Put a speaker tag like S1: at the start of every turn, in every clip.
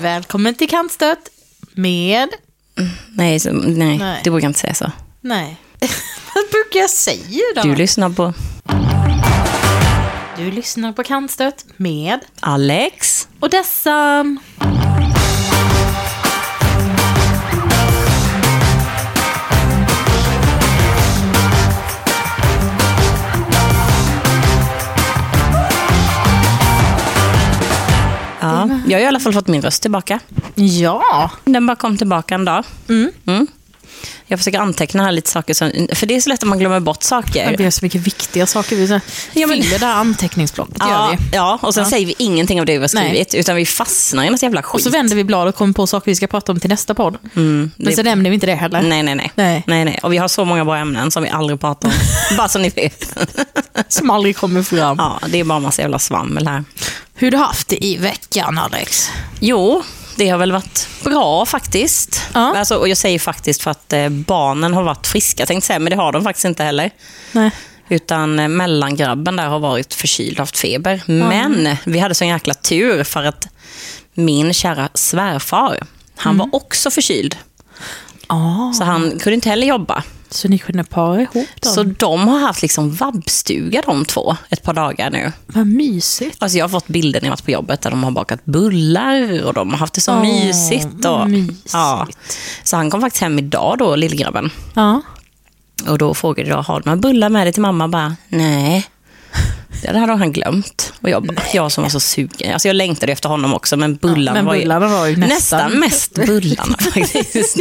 S1: Välkommen till Kantstöt med...
S2: Nej, så, nej,
S1: Nej.
S2: du brukar inte säga så.
S1: Nej. Vad brukar jag säga då?
S2: Du lyssnar på
S1: Du lyssnar på Kantstöt med...
S2: Alex.
S1: Och dessa...
S2: Ja, jag har i alla fall fått min röst tillbaka.
S1: Ja.
S2: Den bara kom tillbaka en dag. Mm. Jag försöker anteckna här lite saker, som, för det är så lätt att man glömmer bort saker.
S1: Vi har så mycket viktiga saker. Vi så-
S2: Ja, men-
S1: fyller det här anteckningsblocket. Gör
S2: Ja,
S1: vi.
S2: ja, och sen säger vi ingenting av det vi har
S1: Nej.
S2: skrivit, utan vi fastnar i något jävla skit.
S1: Och så vänder vi bladet och kommer på saker vi ska prata om till nästa podd. Men
S2: det-
S1: så nämner vi inte Mm, det heller.
S2: Nej, nej, nej,
S1: Nej.
S2: nej, nej. Och vi har så många bra ämnen som vi aldrig pratar om. bara så ni vet.
S1: Som aldrig kommer fram.
S2: Ja, det är bara massa jävla svammel här.
S1: Hur du haft det i veckan, Alex?
S2: Jo, det har väl varit bra faktiskt.
S1: Ja.
S2: Alltså, och jag säger faktiskt för att eh, barnen har varit friska, tänkte säga, men det har de faktiskt inte heller.
S1: Nej.
S2: Utan eh, mellangrabben där har varit förkyld och haft feber. Men vi hade så en jäkla tur för att min kära svärfar, han var också förkyld.
S1: Ah,
S2: Så han kunde inte heller jobba.
S1: så ni kunde para ihop dem?
S2: Så de har haft liksom vabbstuga de två ett par dagar nu.
S1: Vad mysigt.
S2: Alltså jag har fått bilder när jag varit på jobbet där de har bakat bullar och de har haft det så
S1: Åh,
S2: mysigt. Och,
S1: mysigt.
S2: Ja. Så han kom faktiskt hem idag då, lillgrabben.
S1: Ja.
S2: Och då frågade jag, har du några bullar med dig till mamma? Bara, nej. Det hade han glömt. Och jag, bara, jag som var så sugen. Alltså jag längtade efter honom också, men bullarna
S1: men
S2: var ju...
S1: bullarna var ju nästan.
S2: nästan mest bullarna faktiskt.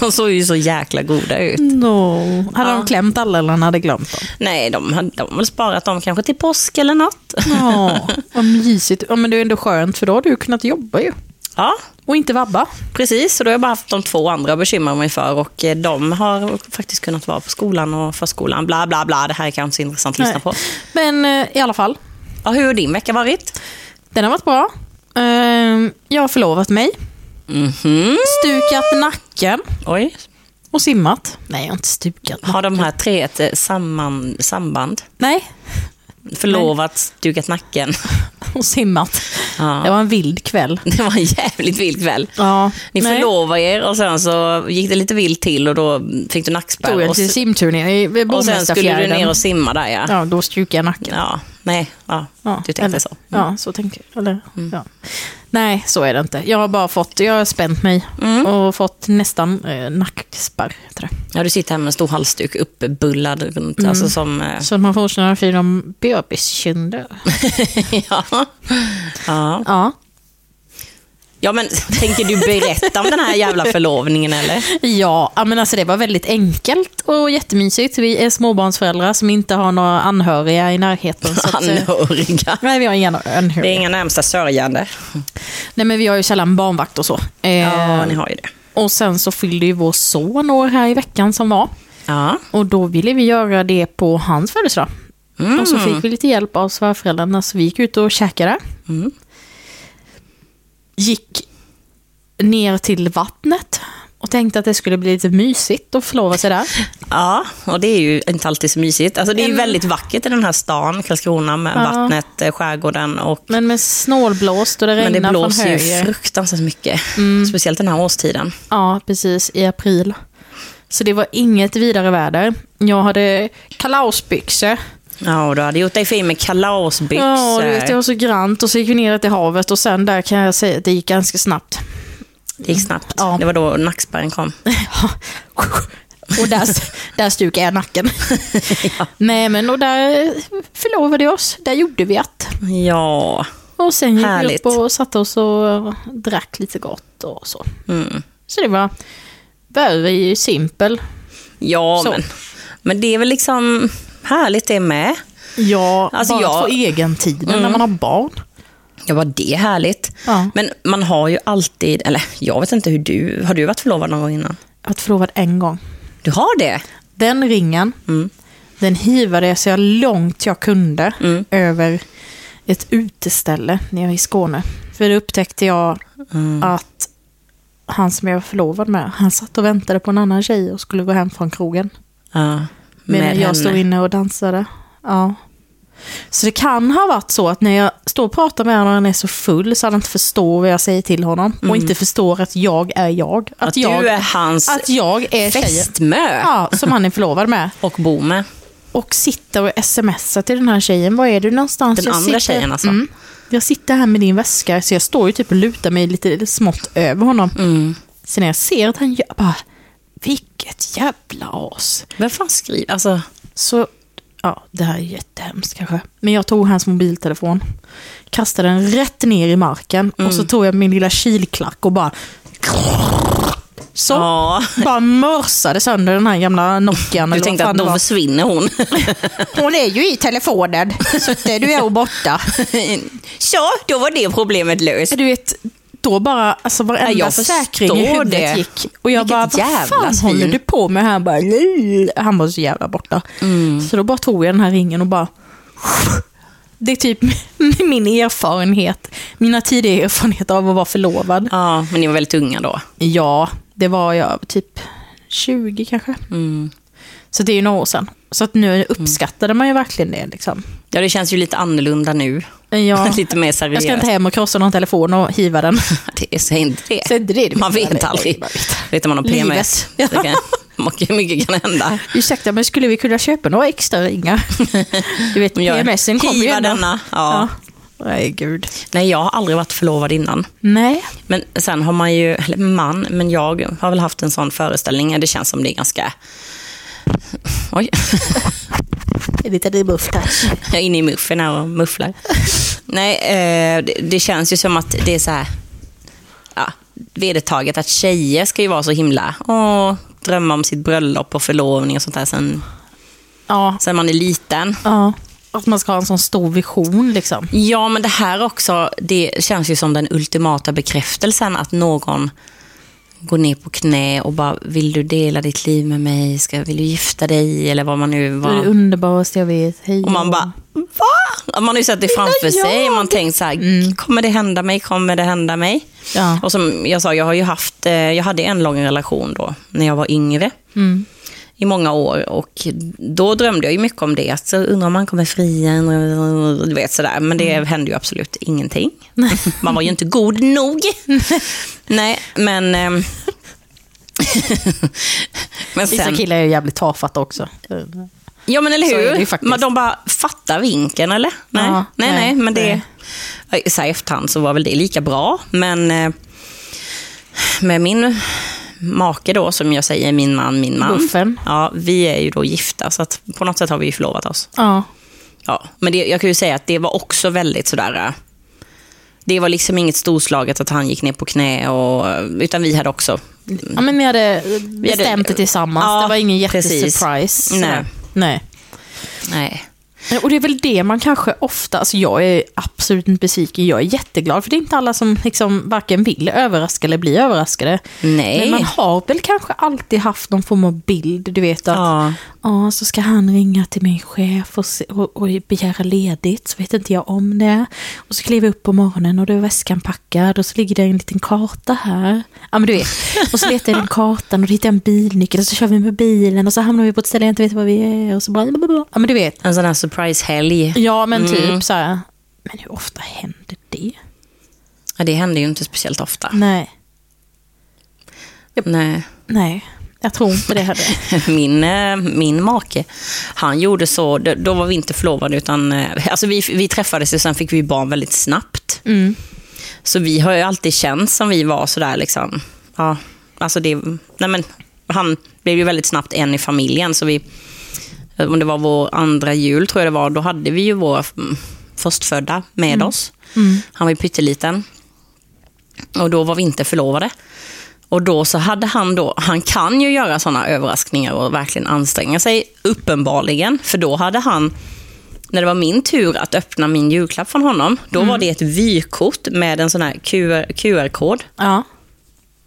S2: De såg ju så jäkla goda ut.
S1: No. Hade de klämt alla eller han hade glömt dem?
S2: Nej, de hade de har väl sparat dem kanske till påsk eller något.
S1: Ja, vad mysigt. Ja, men det är ändå skönt för då har du kunnat jobba ju.
S2: Ja,
S1: Och inte vabba.
S2: Precis, och då har jag bara haft de två andra att bekymra mig för och eh, de har faktiskt kunnat vara på skolan och förskolan. Bla, bla, bla. Det här är kanske inte så intressant att lyssna
S1: Nej.
S2: på.
S1: Men eh, i alla fall,
S2: Ja, hur har din vecka varit?
S1: den har varit bra. Ehm, jag har förlovat mig,
S2: Mhm.
S1: stukat nacken
S2: Oj,
S1: och simmat. Nej, jag har inte stukat.
S2: har de här tre ett eh, samman, samband?
S1: Nej,
S2: Förlovat, stukat nacken.
S1: och simmat.
S2: Ja.
S1: Det var en vild kväll.
S2: Det var en jävligt vild kväll.
S1: Ja,
S2: Ni
S1: nej.
S2: förlovade er och sen så gick det lite vilt till och då fick du
S1: Tog
S2: nackspärr.
S1: jag
S2: Och,
S1: till
S2: s-
S1: simturningen i
S2: och sen skulle du
S1: Bomästarfjärden.
S2: ner och simma där ja.
S1: Ja, då stukade jag nacken.
S2: Ja, nej, ja,
S1: Ja,
S2: du tänkte
S1: eller,
S2: så. Mm.
S1: Ja, så tänker jag. Eller, ja. Nej, så är det inte. Jag har bara fått, jag har spänt mig
S2: Mm.
S1: och fått nästan eh, nackspärr. tror jag.
S2: Ja, du sitter här med en stor halsduk uppbullad runt,
S1: Mm.
S2: alltså som... eh,
S1: Så att man får sådana fina bebiskinder.
S2: ja. ja.
S1: Ja.
S2: Ja, men tänker du berätta om den här jävla förlovningen eller?
S1: Ja, ja, men alltså det var väldigt enkelt och jättemysigt. Vi är småbarnsföräldrar som inte har några anhöriga i närheten. Så att, eh,
S2: Anhöriga.
S1: nej, vi har inga
S2: Det är
S1: anhöriga.
S2: inga närmsta sörjande.
S1: Nej, men vi har ju sällan barnvakt och så. Eh,
S2: Ja, ni har ju det.
S1: Och sen så fyllde ju vår son år här i veckan som var.
S2: Ja.
S1: Och då ville vi göra det på hans födelsedag. Och så fick vi lite hjälp av svärföräldrarna så vi gick ut och käkade.
S2: Mm.
S1: Gick ner till vattnet och tänkte att det skulle bli lite mysigt att förlova sig där.
S2: ja, och det är ju inte alltid så mysigt. Alltså, det är ju väldigt vackert i den här stan, Karlskrona, med
S1: Ja.
S2: vattnet, eh, skärgården och...
S1: Men med snålblåst och det
S2: Men det
S1: regnar från
S2: blåser ju
S1: höger. Mm.
S2: fruktansvärt mycket. Speciellt den här årstiden.
S1: Ja, precis. I april. Så det var inget vidare väder. Jag hade kalasbyxor.
S2: Ja, och du hade gjort dig fin med kalasbyxor.
S1: Ja, du vet, det var så grant och så gick vi ner till havet och sen där kan jag säga att det gick ganska snabbt.
S2: Det gick snabbt.
S1: Ja.
S2: Det var då nackspärren kom.
S1: Och där, där stukade jag nacken. Nej, men och där förlovade jag oss. Där gjorde vi att.
S2: Ja.
S1: Och sen gick vi upp
S2: Härligt.
S1: och satte oss och drack lite gott och så.
S2: Mm.
S1: Så det var very simple.
S2: Ja,
S1: Så.
S2: men, men det är väl liksom härligt det med.
S1: Ja,
S2: Alltså,
S1: bara
S2: jag- Mm.
S1: att få egen tid när man har barn.
S2: Ja, vad det är härligt.
S1: Ja.
S2: Men man har ju alltid, eller jag vet inte hur du, har du varit förlovad någon gång innan?
S1: Jag har varit förlovad en gång.
S2: Du har det?
S1: Den ringen,
S2: Mm,
S1: den hivade jag så jag långt jag kunde
S2: mm,
S1: över ett uteställe nere i Skåne. För då upptäckte jag
S2: mm.
S1: att han som jag var förlovad med, han satt och väntade på en annan tjej och skulle gå hem från krogen.
S2: Ja. Med
S1: Medan jag
S2: henne.
S1: stod inne och dansade. Ja. Så det kan ha varit så att när jag står och pratar med honom och han är så full så han inte förstår vad jag säger till honom. Och inte förstår att jag är jag.
S2: Mm. Att,
S1: jag,
S2: du är hans
S1: att jag är tjejen.
S2: fästmö
S1: Ja, som han är förlovad med.
S2: och bo med.
S1: Och sitter och smsar till den här tjejen. Var är du någonstans?
S2: Den
S1: Jag
S2: andra
S1: sitter-
S2: tjejen alltså.
S1: Mm. Jag sitter här med din väska, så jag står ju typ och lutar mig lite smått över honom.
S2: Mm.
S1: Så när jag ser att han gör, bara, vilket jävla as.
S2: Vem fan skriver... Alltså,
S1: Så, ja, det här är jättehemskt kanske. Men jag tog hans mobiltelefon, kastade den rätt ner i marken och
S2: Mm.
S1: så tog jag min lilla kilklack och bara... Så,
S2: ja.
S1: bara mörsade sönder den här gamla Nokian.
S2: Du
S1: eller vad
S2: tänkte
S1: fan
S2: att
S1: det
S2: då
S1: var.
S2: försvinner hon.
S1: Hon är ju i telefonen, så att du är ju borta.
S2: ja, då var det problemet löst.
S1: Du vet, då bara, alltså varenda
S2: Ja, jag förstår
S1: säkring i huvudet
S2: det.
S1: gick. Och jag
S2: Vilket
S1: bara, vad
S2: jävla
S1: fan
S2: svin."
S1: håller du på med? Han bara, "Nej." han var så jävla borta.
S2: Mm.
S1: Så då bara tog jag den här ringen och bara, det är typ min erfarenhet, mina tidiga erfarenheter av att vara förlovad.
S2: Ja, men ni var väldigt unga då.
S1: Ja, det var jag typ 20 kanske.
S2: Mm.
S1: Så det är ju några år sedan. Så att nu uppskattade man ju verkligen det. Liksom.
S2: Ja, det känns ju lite annorlunda nu.
S1: Ja,
S2: lite mer
S1: jag
S2: seriöst.
S1: ska inte hem och krossa någon telefon och hiva den.
S2: Det är så inte det.
S1: Säg inte det, det
S2: man
S1: vet
S2: vet
S1: jag.
S2: aldrig.
S1: Man
S2: Vet man om PMS.
S1: Livet.
S2: Det kan, mycket- mycket kan hända.
S1: Ursäkta, men skulle vi kunna köpa några extra ringar? Du vet,
S2: Om jag-
S1: PMSen kommer ju
S2: Hiva
S1: ändå.
S2: denna. Ja.
S1: Nej, gud.
S2: Nej, jag har aldrig varit förlovad innan.
S1: Nej.
S2: Men sen har man ju, eller man, men jag har väl haft en sån föreställning. Det känns som det är ganska... Oj,
S1: Lite rebuff touch.
S2: jag är inne i muffen här och mufflar. Nej, eh, det, det känns ju som att det är så här... Ja, vedertaget att tjejer ska ju vara så himla... Åh, drömma om sitt bröllop och förlovning och sånt där sen,
S1: Ja,
S2: sen man är liten.
S1: ja. Att man ska ha en sån stor vision liksom.
S2: Ja, men det här också, det känns ju som den ultimata bekräftelsen att någon går ner på knä och bara, vill du dela ditt liv med mig? Ska, vill du gifta dig? Eller vad man nu
S1: Du är det
S2: var.
S1: underbaraste jag vet. Hej.
S2: Och man bara, va? Man har ju sett det framför
S1: jag? Mm.
S2: sig och man tänkt så här, kommer det hända mig? Kommer det hända mig?
S1: Ja.
S2: Och som jag sa, jag har ju haft, eh, jag hade en lång relation då, när jag var yngre.
S1: Mm.
S2: I många år och då drömde jag ju mycket om det. Att så undrar om man kommer fria, undrar- du vet sådär. Men
S1: Mm.
S2: det hände ju absolut ingenting. Man var ju inte god nog. Nej, men... ehm, men
S1: Vissa
S2: sen...
S1: killar är ju jävligt tafatta också.
S2: Ja, men eller
S1: Så är det
S2: hur?
S1: ju faktiskt.
S2: men de bara fattar vinkeln, eller? Nej,
S1: Ja,
S2: nej,
S1: nej,
S2: nej, men det...
S1: nej.
S2: Så här i efterhand så var väl det lika bra, men eh, med min make då, som jag säger, min man, min man.
S1: Buffen.
S2: Ja, vi är ju då gifta, så att på något sätt har vi ju förlovat oss.
S1: Ja.
S2: Ja, men det, jag kan ju säga att det var också väldigt sådär... eh, Det var liksom inget storslaget att han gick ner på knä, och, eh, utan vi hade också...
S1: ja, men ni hade bestämt det tillsammans.
S2: Ja,
S1: det var ingen
S2: precis.
S1: jättesurprise. sådär.
S2: Nej.
S1: Nej.
S2: Nej.
S1: Eh, Och det är väl det man kanske ofta, alltså jag är absolut inte besviken, jag är jätteglad för det är inte alla som liksom varken vill överraska eller bli överraskade.
S2: Nej.
S1: Men man har väl kanske alltid haft någon form av bild, du vet att
S2: Ja.
S1: Ja, så ska han ringa till min chef och, se- och, och begära ledigt, så vet inte jag om det. Och så kliver jag upp på morgonen och då är väskan packad och så ligger det en liten karta här. Ja, men du vet. Och så letar jag i den kartan och då hittar jag en bilnyckel och så kör vi med bilen och så hamnar vi på ett ställe jag inte vet var vi är och så bara... Ja, men du vet.
S2: En sån här surprise-helg.
S1: Ja, men typ så här. Men hur ofta händer det?
S2: Ja, det hände ju inte speciellt ofta.
S1: Nej,
S2: Nej.
S1: nej. Jag tror inte det heller.
S2: min, eh, min make, han gjorde så, d- då var vi inte förlovade utan, eh, alltså vi, vi träffades och sen fick vi barn väldigt snabbt.
S1: Mm.
S2: Så vi har ju alltid känt som vi var sådär liksom, ja, alltså det, nej men han blev ju väldigt snabbt en i familjen så vi, om det var vår andra jul tror jag det var, då hade vi ju vår mm, förstfödda med oss. Han var ju pytteliten. Och då var vi inte förlovade. Och då så hade han då, han kan ju göra sådana överraskningar och verkligen anstränga sig, uppenbarligen. För då hade han, när det var min tur att öppna min julklapp från honom, då var det ett vykort med en sån här QR QR-kod
S1: Ja.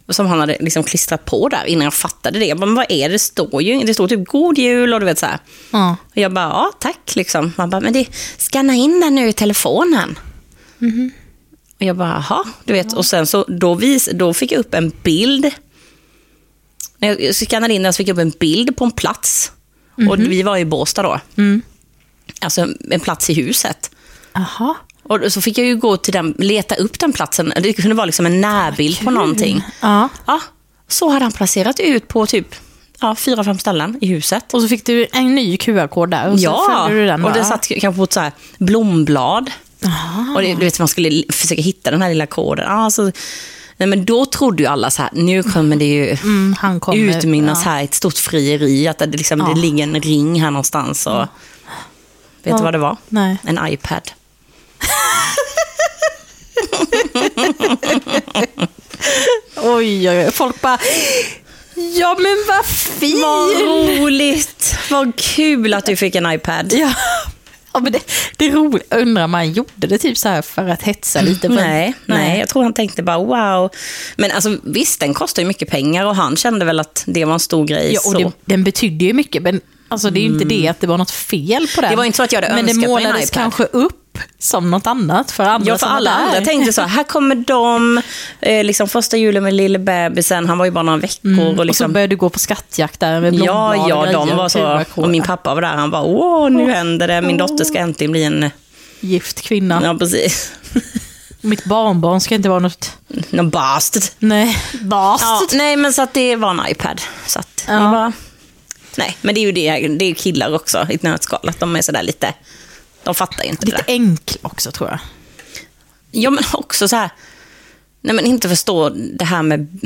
S2: som han hade liksom klistrat på där innan jag fattade det. Jag bara, Men vad är det? Det står ju, det står typ god jul och du vet så här.
S1: ja.
S2: Och jag bara, ja tack liksom. Man bara, men det, scanna in den nu i telefonen. Och jag bara, jaha, du vet. Och sen så, då, vis, då fick jag upp en bild. När jag- jag skannade in den så fick jag upp en bild på en plats. Och vi var i Båstad då. alltså en plats i huset.
S1: Aha.
S2: Och så fick jag ju gå till den, leta upp den platsen. Det kunde vara liksom en närbild på någonting.
S1: Mm. Ja.
S2: Ja, så hade han placerat ut på typ ja, fyra, fem ställen i huset.
S1: Och så fick du en ny QR-kod där och så
S2: ja,
S1: följde du den
S2: och
S1: bara.
S2: det satt kanske på ett så här blomblad. Och det, du vet, man skulle l- försöka hitta den här lilla koden. Ja, så, nej, men då trodde ju alla så här, nu kommer det ju
S1: Mm, han kommer.
S2: utmynnas här i ett stort frieri, att det, liksom, det ligger en ring här någonstans. Och, Vet
S1: Ja.
S2: du vad det var?
S1: Nej.
S2: En iPad.
S1: Oj, oj, oj. Folk bara... Ja, men vad fint!
S2: Vad roligt! Vad kul att du fick en iPad.
S1: Ja. ja, men det, det är roligt. Undrar om man gjorde det typ så här för att hetsa lite. på-
S2: Nej, nej, jag tror han tänkte bara wow. Men alltså, visst, den kostar ju mycket pengar och han kände väl att det var en stor grej.
S1: Ja, och
S2: så. Mm.
S1: det, den betydde ju mycket, men alltså, det är ju inte det att det var något fel på den.
S2: Det var inte så att jag hade
S1: Men det
S2: önskat mig en
S1: målades
S2: iPad.
S1: kanske upp som något annat för andra
S2: Ja, för
S1: som
S2: alla
S1: var där.
S2: andra tänkte så här, här kommer de, eh, liksom första julen med lille bebisen, han var ju bara några veckor. Och
S1: Mm. Och så
S2: liksom,
S1: började du gå på skattjakt där med blomblad
S2: ja,
S1: och
S2: ja, de
S1: grejer,
S2: var så.
S1: QR-kod.
S2: Och min pappa var där, han bara, åh, nu händer det, min dotter ska äntligen bli en,
S1: Gift kvinna.
S2: ja precis,
S1: Mitt barnbarn ska inte vara något...
S2: någon bastard.
S1: Nej. Bast.
S2: Ja, nej, men så att det var en iPad. Så att
S1: Ja.
S2: jag bara, nej, men det är ju det, det är ju killar också i ett nötskal, att de är sådär lite, de fattar ju inte det
S1: Lite
S2: där.
S1: enkel också tror jag.
S2: Ja, men också så här, nej men inte förstå det här med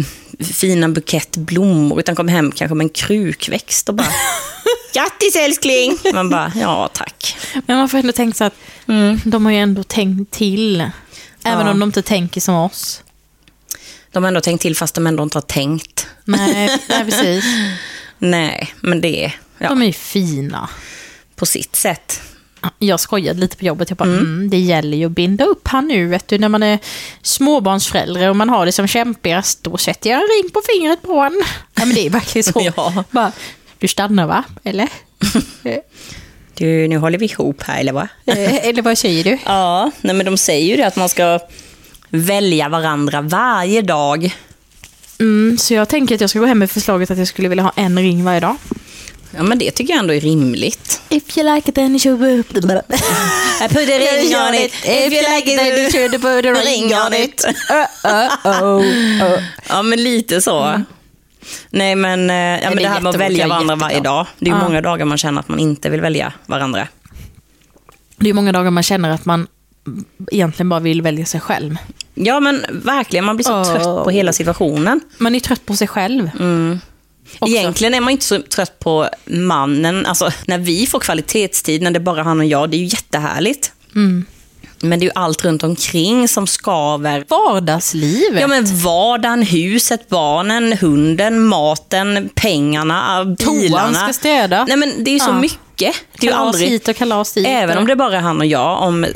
S2: fina bukett blommor, utan kom hem kanske med en krukväxt och bara, grattis älskling! Man bara, ja tack.
S1: Men man får ändå tänka så att de har ju ändå tänkt till. Även
S2: Mm. Ja.
S1: om de inte tänker som oss.
S2: De har ändå tänkt till fast de ändå inte har tänkt.
S1: Nej, nej precis.
S2: Nej, men det är ja,
S1: De är ju fina.
S2: på sitt sätt.
S1: Jag skojade lite på jobbet. Jag bara, mm. det gäller ju att binda upp han nu vet du, när man är småbarnsförälder och man har det som kämpigast. Då sätter jag en ring på fingret på honom. Ja, men det är verkligen så.
S2: Ja.
S1: Bara, du stannar va? Eller?
S2: Du, nu håller vi ihop här, eller vad?
S1: Eh, Eller vad säger du?
S2: Ja, nej men de säger ju det att man ska välja varandra varje dag.
S1: Mm, så jag tänker att jag ska gå hem med förslaget att jag skulle vilja ha en ring varje dag.
S2: Ja, men det tycker jag ändå är rimligt.
S1: If you like it then you should up
S2: I put a ring on it, if you like it, then you
S1: should put
S2: a ring on it. Ja, men lite så. Nej, men, eh, ja, men
S1: Mm. det
S2: det,
S1: är
S2: här med
S1: jättemånga,
S2: att
S1: jag
S2: välja
S1: är
S2: varandra varje
S1: jättemånga.
S2: dag. Det är ju
S1: Ja.
S2: många dagar man känner att man inte vill välja varandra.
S1: Det är ju många dagar man känner att man egentligen bara vill välja sig själv.
S2: Ja, men verkligen. Man blir så
S1: Oh.
S2: trött på hela situationen.
S1: Man är trött på sig själv. Mm. Också.
S2: Egentligen är man inte så trött på mannen. Alltså, när vi får kvalitetstid, när det är bara han och jag, det är ju jättehärligt.
S1: Mm.
S2: Men det är ju allt runt omkring som skaver.
S1: Vardagslivet.
S2: Ja, men vardagen, huset, barnen, hunden, maten, pengarna, bilarna.
S1: ska städa.
S2: Nej, men det är ju så
S1: Ja.
S2: mycket. Det är ju
S1: kalas
S2: aldrig...
S1: hit och kalas dit.
S2: Även om det är bara är han och jag, om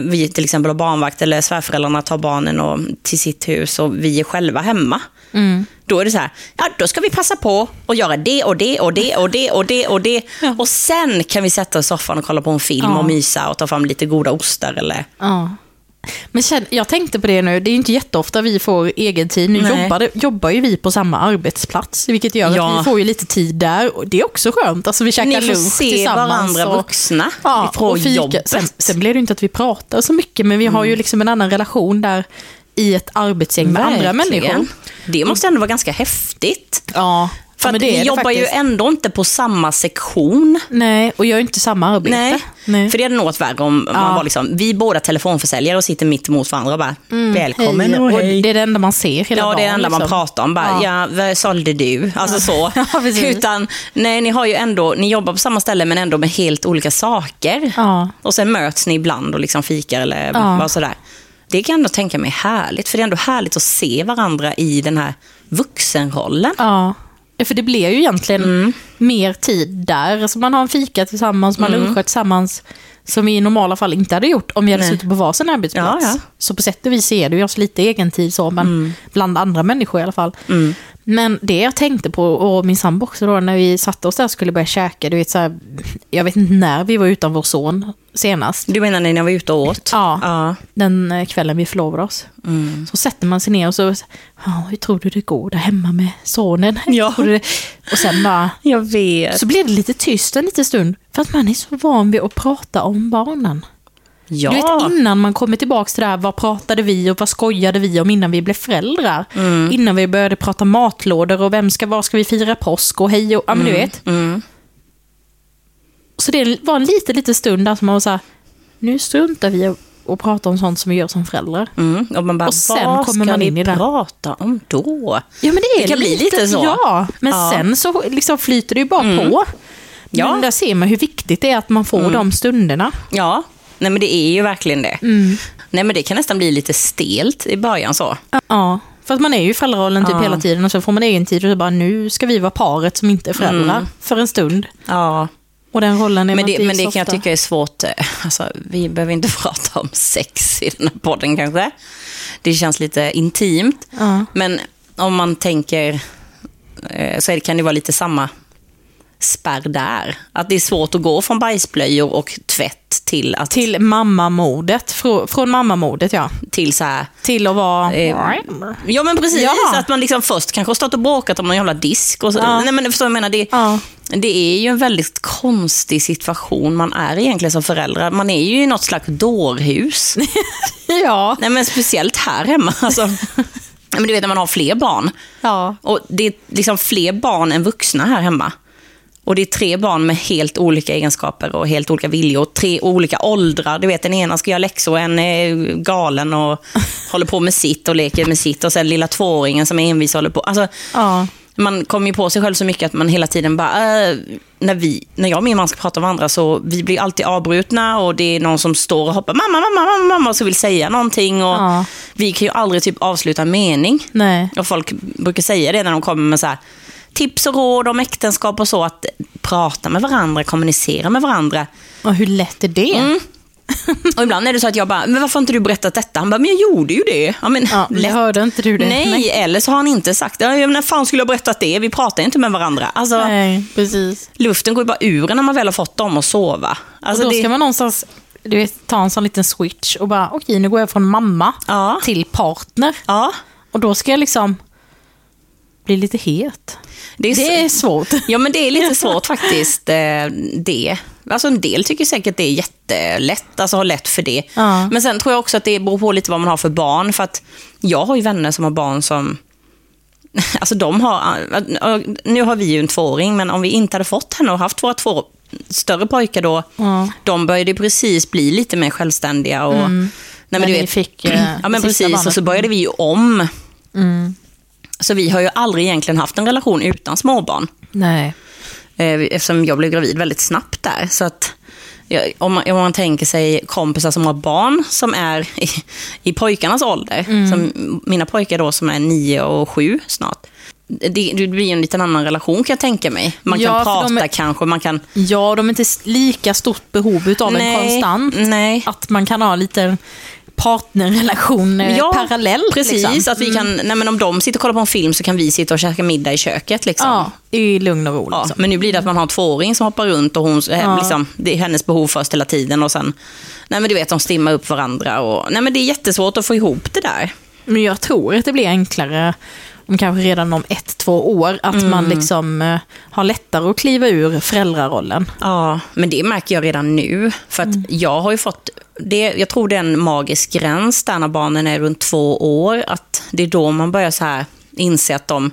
S2: vi till exempel har barnvakt eller svärföräldrarna tar barnen och, till sitt hus och vi är själva hemma.
S1: Mm.
S2: Då är det så här, ja då ska vi passa på och göra det och det och det och det och det och det. Och sen kan vi sätta oss i soffan och kolla på en film
S1: Ja.
S2: och mysa och ta fram lite goda ostar eller...
S1: Ja. Men känn, jag tänkte på det nu, det är ju inte jätteofta vi får egen tid. Nu
S2: Nej.
S1: jobbar, jobbar ju vi på samma arbetsplats, vilket gör
S2: Ja.
S1: att vi får ju lite tid där. Och det är också skönt, alltså vi käkar
S2: Ni får
S1: lunch
S2: se
S1: tillsammans.
S2: varandra
S1: och,
S2: vuxna
S1: ja,
S2: ifrån
S1: och fika.
S2: jobbet. Mm.
S1: Sen, sen blir det ju inte att vi pratar så mycket, men vi har ju liksom en annan relation där i ett arbetsgäng med andra
S2: Verkligen.
S1: människor.
S2: Det måste ändå vara ganska häftigt.
S1: Ja,
S2: För
S1: ja, men
S2: att
S1: det är
S2: vi
S1: det
S2: jobbar ju
S1: faktiskt.
S2: ändå inte på samma sektion.
S1: Nej, och gör ju inte samma arbete.
S2: Nej,
S1: Nej.
S2: för det hade nog varit värre om man var liksom, vi är båda telefonförsäljare och sitter mitt emot varandra och bara,
S1: Mm.
S2: välkommen och hej.
S1: Det är det enda man ser hela
S2: Ja,
S1: dagen.
S2: det är det enda man
S1: liksom.
S2: pratar om. Bara, ja. vad sålde du? Alltså så.
S1: Ja, precis.
S2: Utan, nej, ni har ju ändå, ni jobbar på samma ställe men ändå med helt olika saker.
S1: Ja.
S2: Och sen möts ni ibland och liksom fikar eller
S1: Ja.
S2: vad sådär. Det kan jag ändå tänka mig är härligt, för det är ändå härligt att se varandra i den här vuxenrollen.
S1: Ja, för det blir ju egentligen
S2: Mm.
S1: mer tid där. Alltså man har en fika tillsammans, man
S2: Mm.
S1: lunchar tillsammans, som vi i normala fall inte hade gjort om vi hade
S2: Nej.
S1: suttit på varsin arbetsplats.
S2: Ja, Mm. ja. Mm.
S1: Så på sätt och vis ger det ju oss lite egen tid så, men bland andra människor i alla fall. Men det jag tänkte på, och min sambo också då, när vi satte oss där och skulle börja käka, du vet så här, jag vet inte när vi var utan vår son senast.
S2: Du menar när ni var ute och åt?
S1: Ja.
S2: ja.
S1: Den eh, kvällen vi förlovade oss.
S2: Mm.
S1: Så sätter man sig ner och så, ja, hur tror du det går där hemma med sonen? Hur
S2: Ja.
S1: tror du det? Och sen bara,
S2: Jag vet.
S1: så blev det lite tyst en liten stund, för att man är så van vid att prata om barnen.
S2: Ja.
S1: Du vet innan man kommer tillbaka till det här, vad pratade vi och vad skojade vi om innan vi blev föräldrar?
S2: Mm.
S1: Innan vi började prata matlådor och vem ska, var ska vi fira påsk och hej och, ja men du vet.
S2: Mm.
S1: Så det var en liten, liten stund där som man var så här, nu struntar vi och, och pratar om sånt som vi gör som föräldrar.
S2: Mm. Och man bara,
S1: Och sen
S2: vad
S1: kommer
S2: ska
S1: man
S2: vi
S1: in i det.
S2: prata om då?
S1: Ja men det är
S2: Det kan bli lite så.
S1: Ja, men
S2: Ja. Mm.
S1: sen så liksom flyter det ju bara på.
S2: Ja. Mm.
S1: Men där ser man hur viktigt det är att man får de stunderna.
S2: Ja, nej men det är ju verkligen det.
S1: Mm.
S2: Nej men det kan nästan bli lite stelt i början så.
S1: Ja, för att man är ju i föräldrarollen typ
S2: Ja.
S1: hela tiden och så får man egen tid och så bara nu ska vi vara paret som inte är föräldrar för en stund.
S2: Ja.
S1: Och den rollen är
S2: Mm. Men
S1: man
S2: det,
S1: inte i
S2: men det
S1: så
S2: kan jag
S1: ofta.
S2: tycka är svårt. eh, Alltså, vi behöver inte prata om sex i den här podden kanske. Det känns lite intimt.
S1: Ja.
S2: Men om man tänker eh, så är det, kan det vara lite samma spärr där. Att det är svårt att gå från bajsblöjor och tvätt till, att, till,
S1: Till mammamodet, frå, från mammamodet ja.
S2: så här
S1: Till att vara...
S2: Eh, Ja men precis,
S1: Ja.
S2: att man liksom först kanske har stått och bråkat om någon jävla disk. Och så.
S1: Ja.
S2: Nej, men förstår jag menar, det,
S1: Ja.
S2: det är ju en väldigt konstig situation man är egentligen som förälder. Man är ju i något slags dårhus.
S1: Ja.
S2: Nej, men speciellt här hemma. Alltså. Nej, Men du vet när man har fler barn.
S1: Ja.
S2: Och Det är liksom fler barn än vuxna här hemma. Och det är tre barn med helt olika egenskaper och helt olika viljor. Och tre olika åldrar. Du vet, den ena ska göra läxor, och en är galen och håller på med sitt och leker med sitt. Och sen lilla tvååringen som är envis och håller på. Alltså,
S1: Ja.
S2: man kommer ju på sig själv så mycket att man hela tiden bara, äh, när, vi, när jag och min man ska prata om varandra så vi blir alltid avbrutna och det är någon som står och hoppar mamma, mamma, mamma, mamma och så vill säga någonting. Och
S1: Ja.
S2: Vi kan ju aldrig typ avsluta en mening.
S1: Nej.
S2: Och folk brukar säga det när de kommer med så här, tips och råd om äktenskap och så, att prata med varandra, kommunicera med varandra.
S1: Och hur lätt är det?
S2: Mm. Och ibland är det så att jag bara, men varför har inte du berättat detta? Han bara, men jag gjorde ju det. Ja, men,
S1: Ja,
S2: lätt
S1: hörde inte du det?
S2: Nej, eller så har han inte sagt det. Ja, När fan skulle jag ha berättat det? Vi pratar inte med varandra. Alltså,
S1: Nej, precis.
S2: Luften går ju bara ur när man väl har fått dem att sova. Alltså,
S1: och då
S2: det-
S1: ska man någonstans du vet, ta en sån liten switch och bara, okej nu går jag från mamma
S2: Ja.
S1: till partner.
S2: Ja,
S1: Och då ska jag liksom bli lite het.
S2: det är,
S1: Det är svårt.
S2: Ja, men det är lite svårt faktiskt. eh, Det. Alltså, en del tycker säkert det är jättelätt, alltså har lätt för det.
S1: Ja.
S2: Men sen tror jag också att det beror på lite vad man har för barn. För att jag har ju vänner som har barn som... Alltså de har... eh, Nu har vi ju en tvååring, men om vi inte hade fått henne och haft våra två större pojkar då,
S1: Ja.
S2: de började ju precis bli lite mer självständiga. Och, Nej, men
S1: Mm. När
S2: du
S1: ni
S2: vet,
S1: fick, eh,
S2: ja, men
S1: sista
S2: precis,
S1: barnet. Mm.
S2: och så började vi ju om. Så vi har ju aldrig egentligen haft en relation utan småbarn.
S1: Nej.
S2: Eh, eftersom jag blev gravid väldigt snabbt där. Så att, ja, om, man, om man tänker sig kompisar som har barn som är i, i pojkarnas ålder,
S1: Mm.
S2: som mina pojkar då som är nio och sju snart. Det, det blir ju en liten annan relation kan jag tänka mig. Man
S1: Ja,
S2: kan
S1: för de
S2: prata
S1: är-
S2: kanske, man kan...
S1: Ja, de är inte s- lika stort behov av en konstant.
S2: nej.
S1: Att man kan ha lite partnerrelation eh, parallellt.
S2: Precis, Alltså.
S1: Liksom.
S2: att vi kan, nej men om de sitter och kollar på en film så kan vi sitta och käka middag i köket. Liksom.
S1: Ja, i lugn och ro.
S2: Ja,
S1: Liksom.
S2: men nu blir det att man har en tvååring som hoppar runt och hon, eh, liksom, det är hennes behov först hela tiden och sen, nej men du vet, de stimmar upp varandra och, nej men det är jättesvårt att få ihop det där.
S1: Men jag tror att det blir enklare om kanske redan om ett, två år, att
S2: Mm.
S1: man liksom eh, har lättare att kliva ur föräldrarollen.
S2: Ja, men det märker jag redan nu, för att
S1: Mm.
S2: jag har ju fått, det, jag tror det är en magisk gräns där när barnen är runt två år, att det är då man börjar så här inse att de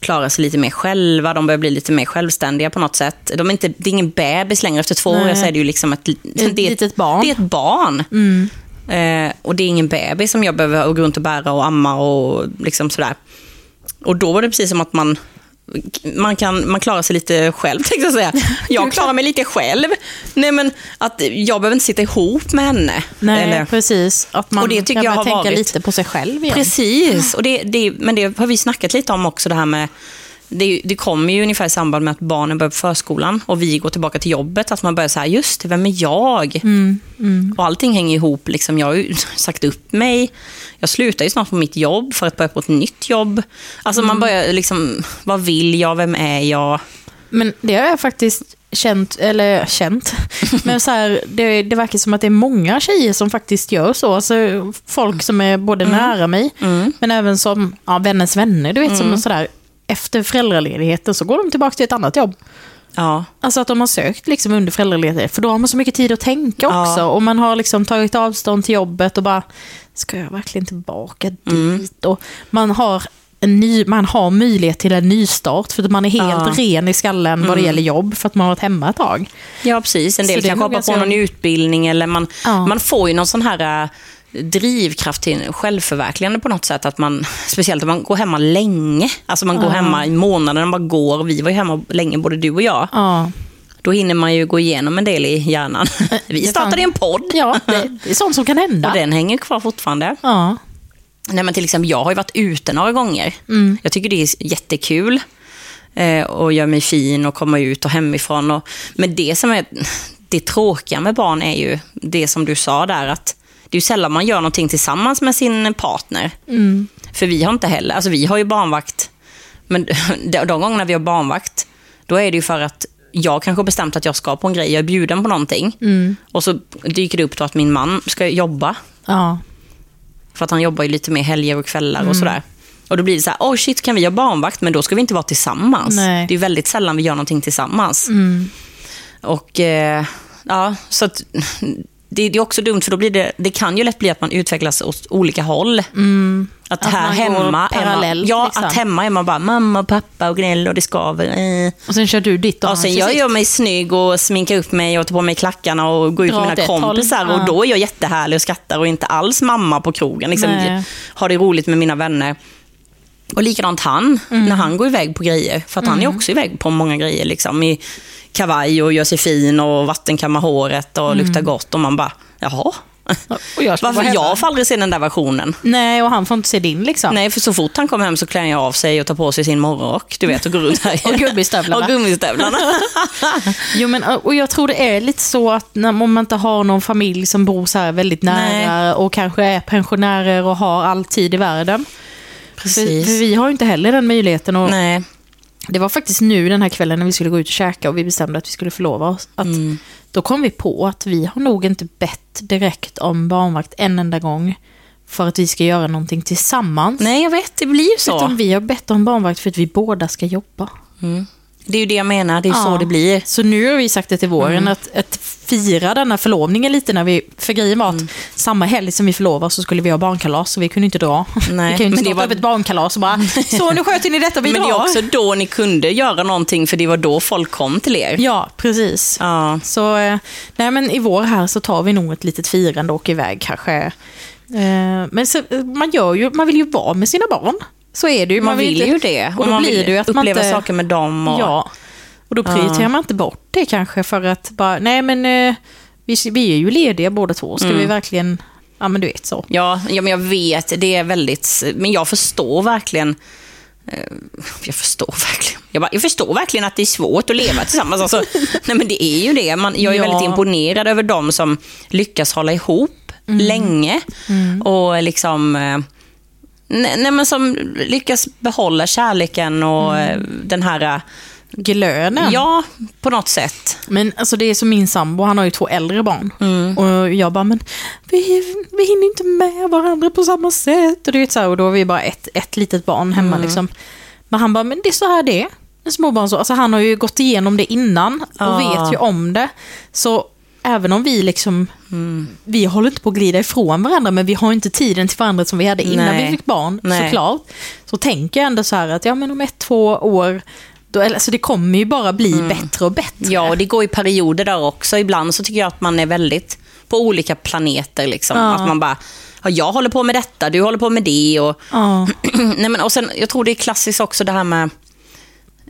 S2: klarar sig lite mer själva, de börjar bli lite mer självständiga på något sätt. De är inte, det är ingen bebis längre, efter två år
S1: Nej.
S2: så är det ju liksom ett,
S1: Ett litet barn. Mm.
S2: Det är ett barn. Eh, och det är ingen bebis som jag behöver gå runt och bära och amma och liksom sådär. Och då var det precis som att man, man, kan, man klarar sig lite själv, tänkte jag säga. Jag klarar mig lite själv. Nej, men att jag behöver inte sitta ihop med henne. Eh,
S1: Nej,
S2: Eller-
S1: precis. Att man
S2: Och det tycker
S1: kan
S2: jag
S1: börja
S2: har
S1: tänka
S2: varit-
S1: lite på sig själv igen.
S2: Precis, och det, det, men det har vi snackat lite om också, det här med det, det kommer ju ungefär i samband med att barnen börjar på förskolan och vi går tillbaka till jobbet, att man börjar så här, just det, vem är jag?
S1: Mm, mm.
S2: Och allting hänger ihop. Liksom, jag har ju sagt upp mig. Jag slutar ju snart på mitt jobb för att börja på ett nytt jobb. Alltså
S1: Mm.
S2: man börjar liksom, vad vill jag? Vem är jag?
S1: Men det har jag faktiskt känt, eller känt, men så här, det, det verkar som att det är många tjejer som faktiskt gör så. Alltså folk som är både
S2: Mm.
S1: nära mig, men även som ja, vänners vänner, du vet,
S2: Mm.
S1: som sådär, efter föräldraledigheten så går de tillbaka till ett annat jobb.
S2: Ja,
S1: Alltså att de har sökt liksom under föräldraledighet, för då har man så mycket tid att tänka
S2: Ja.
S1: också. Och man har liksom tagit avstånd till jobbet och bara, ska jag verkligen tillbaka
S2: Mm.
S1: dit? Och man har, en ny, man har möjlighet till en nystart, för att man är helt ren i skallen vad det
S2: Mm.
S1: gäller jobb, för att man har varit hemma ett tag.
S2: ja precis. En
S1: Så
S2: del
S1: det är
S2: kanske
S1: nog
S2: hoppar på
S1: ganska-
S2: någon utbildning eller man,
S1: Ja.
S2: man får ju någon sån här eh, drivkraft till självförverkligande på något sätt. Att man, speciellt om man går hemma länge. Alltså man går hemma i månaden, bara går. Vi var ju hemma länge, både du och jag.
S1: Ja,
S2: Då hinner man ju gå igenom en del i hjärnan. Vi
S1: det
S2: startade
S1: fan-
S2: en podd.
S1: ja det, det är sånt som kan
S2: Och
S1: hända.
S2: den hänger kvar fortfarande.
S1: Ja.
S2: Nej, men till exempel, jag har ju varit ute några gånger. Jag tycker det är jättekul. Eh, och gör mig fin och komma ut och hemifrån. Och, men det som är det tråkiga med barn är ju det som du sa där. att Det är ju sällan man gör någonting tillsammans med sin partner. För vi har inte heller, alltså vi har ju barnvakt. Men de de gångerna vi har barnvakt, då är det ju för att jag kanske har bestämt att jag ska på en grej, jag är bjuden på någonting. Och så dyker det upp då att min man ska jobba
S1: Ja.
S2: för att han jobbar ju lite mer helger och kvällar
S1: Mm.
S2: och sådär. Och då blir det så här, oh shit, kan vi göra barnvakt? Men då ska vi inte vara tillsammans.
S1: Nej. Mm.
S2: Det är ju väldigt sällan vi gör någonting tillsammans. Och eh, ja, så att, det, det är också dumt, för då blir det, det kan ju lätt bli att man utvecklas åt olika håll. Att,
S1: Mm. Att
S2: här
S1: man går
S2: hemma, är man,
S1: parallellt,
S2: ja,
S1: liksom.
S2: att hemma är man bara mamma och pappa och gnäll och det skaver. Eh.
S1: Och sen kör du ditt och
S2: Ja,
S1: han
S2: sen
S1: kör
S2: jag
S1: sitt.
S2: gör mig snygg och sminkar upp mig och tar på mig klackarna och går ut
S1: Dra
S2: med
S1: åt
S2: mina
S1: ett håll.
S2: kompisar. Och
S1: Ja.
S2: då är jag jättehärlig och skrattar och inte alls mamma på krogen. Liksom,
S1: Nej.
S2: har det roligt med mina vänner. Och likadant han,
S1: Mm.
S2: när han går iväg på grejer. För att han är också iväg på många grejer. Liksom, I kavaj och gör sig fin och vattenkammar håret och luktar gott. Och man bara, jaha?
S1: Mm. Och jag ska vara
S2: Varför?
S1: hemma.
S2: Jag får aldrig se den där versionen.
S1: Nej, och han får inte se din liksom.
S2: Nej, för så fort han kommer hem så klär jag av sig och tar på sig sin morgonrock. Du vet, och går runt här.
S1: Och gummistövlarna.
S2: Och gummistövlarna.
S1: Jo, men, och jag tror det är lite så att när, om man inte har någon familj som bor så här väldigt nära och kanske är pensionärer och har all tid i världen. För,
S2: Precis.
S1: för vi har ju inte heller den möjligheten. Och
S2: Nej.
S1: det var faktiskt nu den här kvällen när vi skulle gå ut och käka och vi bestämde att vi skulle förlova oss. Att
S2: Mm.
S1: Då kom vi på att vi har nog inte bett direkt om barnvakt en enda gång för att vi ska göra någonting tillsammans.
S2: Nej, jag vet. Det blir ju
S1: Utan
S2: så.
S1: vi har bett om barnvakt för att vi båda ska jobba.
S2: Det är ju det jag menar. Det är ju så
S1: Ja.
S2: det blir.
S1: Så nu har vi sagt det till våren,
S2: Mm.
S1: att, att fira denna förlovningen lite när vi, för grejen var att
S2: Mm.
S1: samma helg som vi förlovade oss så skulle vi ha barnkalas så vi kunde inte dra.
S2: Nej,
S1: vi kan ju inte
S2: men det
S1: starta
S2: var-
S1: upp ett barnkalas och bara, så nu sköter ni detta, vi
S2: Men det
S1: drar.
S2: är också då ni kunde göra någonting, för det var då folk kom till er.
S1: Ja, precis.
S2: Ja.
S1: Så eh, nej, men i vår här så tar vi nog ett litet firande och åker iväg kanske. Eh, Men så, eh, man, gör ju, man vill ju vara med sina barn. Så är det ju.
S2: Man, vill
S1: inte-
S2: ju det.
S1: Och då
S2: man
S1: blir
S2: vill
S1: det ju att man
S2: uppleva
S1: inte...
S2: saker med dem. Och...
S1: Ja, och då prioriterar man inte bort det kanske för att bara, nej men eh, vi, vi är ju lediga båda två, ska vi verkligen, ja men du vet så.
S2: Ja, ja, men jag vet. Det är väldigt... Men jag förstår verkligen... eh, Jag förstår verkligen. Jag, bara, jag förstår verkligen att det är svårt att leva tillsammans. Alltså, nej, men det är ju det. Man, jag är
S1: Ja.
S2: väldigt imponerad över de som lyckas hålla ihop länge. Och liksom... eh, Nej, nej, men som lyckas behålla kärleken och eh, den här...
S1: Glöden.
S2: eh, Ja, på något sätt.
S1: Men alltså det är som min sambo, han har ju två äldre barn.
S2: Mm.
S1: Och jag bara, men vi, vi hinner inte med varandra på samma sätt. Och, du vet, så här, och då har vi bara ett, ett litet barn
S2: Mm.
S1: hemma liksom. Men han bara, men det är så här det är. En småbarn så. Alltså han har ju gått igenom det innan och
S2: Ja.
S1: vet ju om det. Så även om vi liksom,
S2: Mm.
S1: vi håller inte på att glida ifrån varandra men vi har inte tiden till varandra som vi hade innan
S2: Nej.
S1: vi fick barn
S2: Nej.
S1: såklart. Så tänker jag ändå så här att ja men om ett, två år, då, eller, alltså det kommer ju bara bli
S2: Mm.
S1: bättre och bättre.
S2: Ja, och det går i perioder där också. Ibland så tycker jag att man är väldigt på olika planeter. Liksom.
S1: Ja.
S2: Att man bara, ja, jag håller på med detta, du håller på med det. Och,
S1: Ja.
S2: Nej, men, och sen, jag tror det är klassiskt också det här med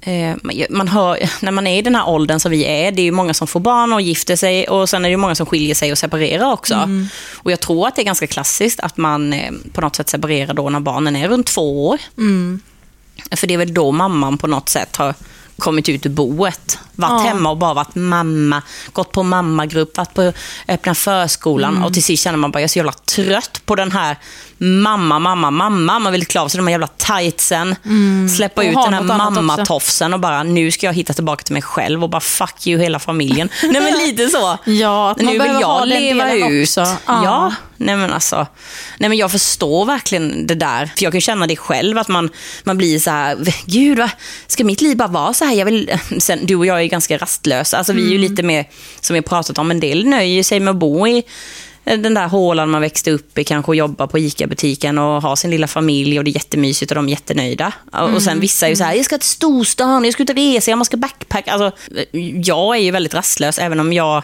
S2: eh, man- man hör, när man är i den här åldern som vi är, det är ju många som får barn och gifter sig och sen är det ju många som skiljer sig och separerar också.
S1: Mm.
S2: Och jag tror att det är ganska klassiskt att man eh, på något sätt separerar då när barnen är runt två år. För det är väl då mamman på något sätt har kommit ut ur boet. Varit
S1: Ja.
S2: hemma och bara varit mamma. Gått på mammagrupp, varit på öppna förskolan.
S1: Mm.
S2: Och till sist känner man bara, jag är så jävla trött på den här mamma, mamma, mamma. Man vill klä av sig de här jävla tightsen. Släppa
S1: Mm. Och ha
S2: ut den här
S1: något annat också.
S2: mammatofsen och bara, nu ska jag hitta tillbaka till mig själv och bara fuck you hela familjen. Nej men lite så.
S1: Ja, att man
S2: nu vill
S1: behöver ha den
S2: jag leva
S1: delen
S2: ut.
S1: också.
S2: Ja.
S1: Ja.
S2: nej men alltså. Nej men jag förstår verkligen det där. För jag kan ju känna det själv, att man, man blir så här, gud vad, ska mitt liv bara vara så här? Jag vill... Sen, du och jag är ju ganska rastlösa. Alltså vi är ju lite mer, som vi har pratat om, en del nöjer sig med att bo i eh, den där hålan man växte upp i, kanske och jobba på ICA-butiken och ha sin lilla familj och det är jättemysigt och de är jättenöjda. Och- Och sen vissa är ju så här, jag ska till storstan, jag ska ut och resa, jag ska backpacka. Alltså, eh, jag är ju väldigt rastlös, även om jag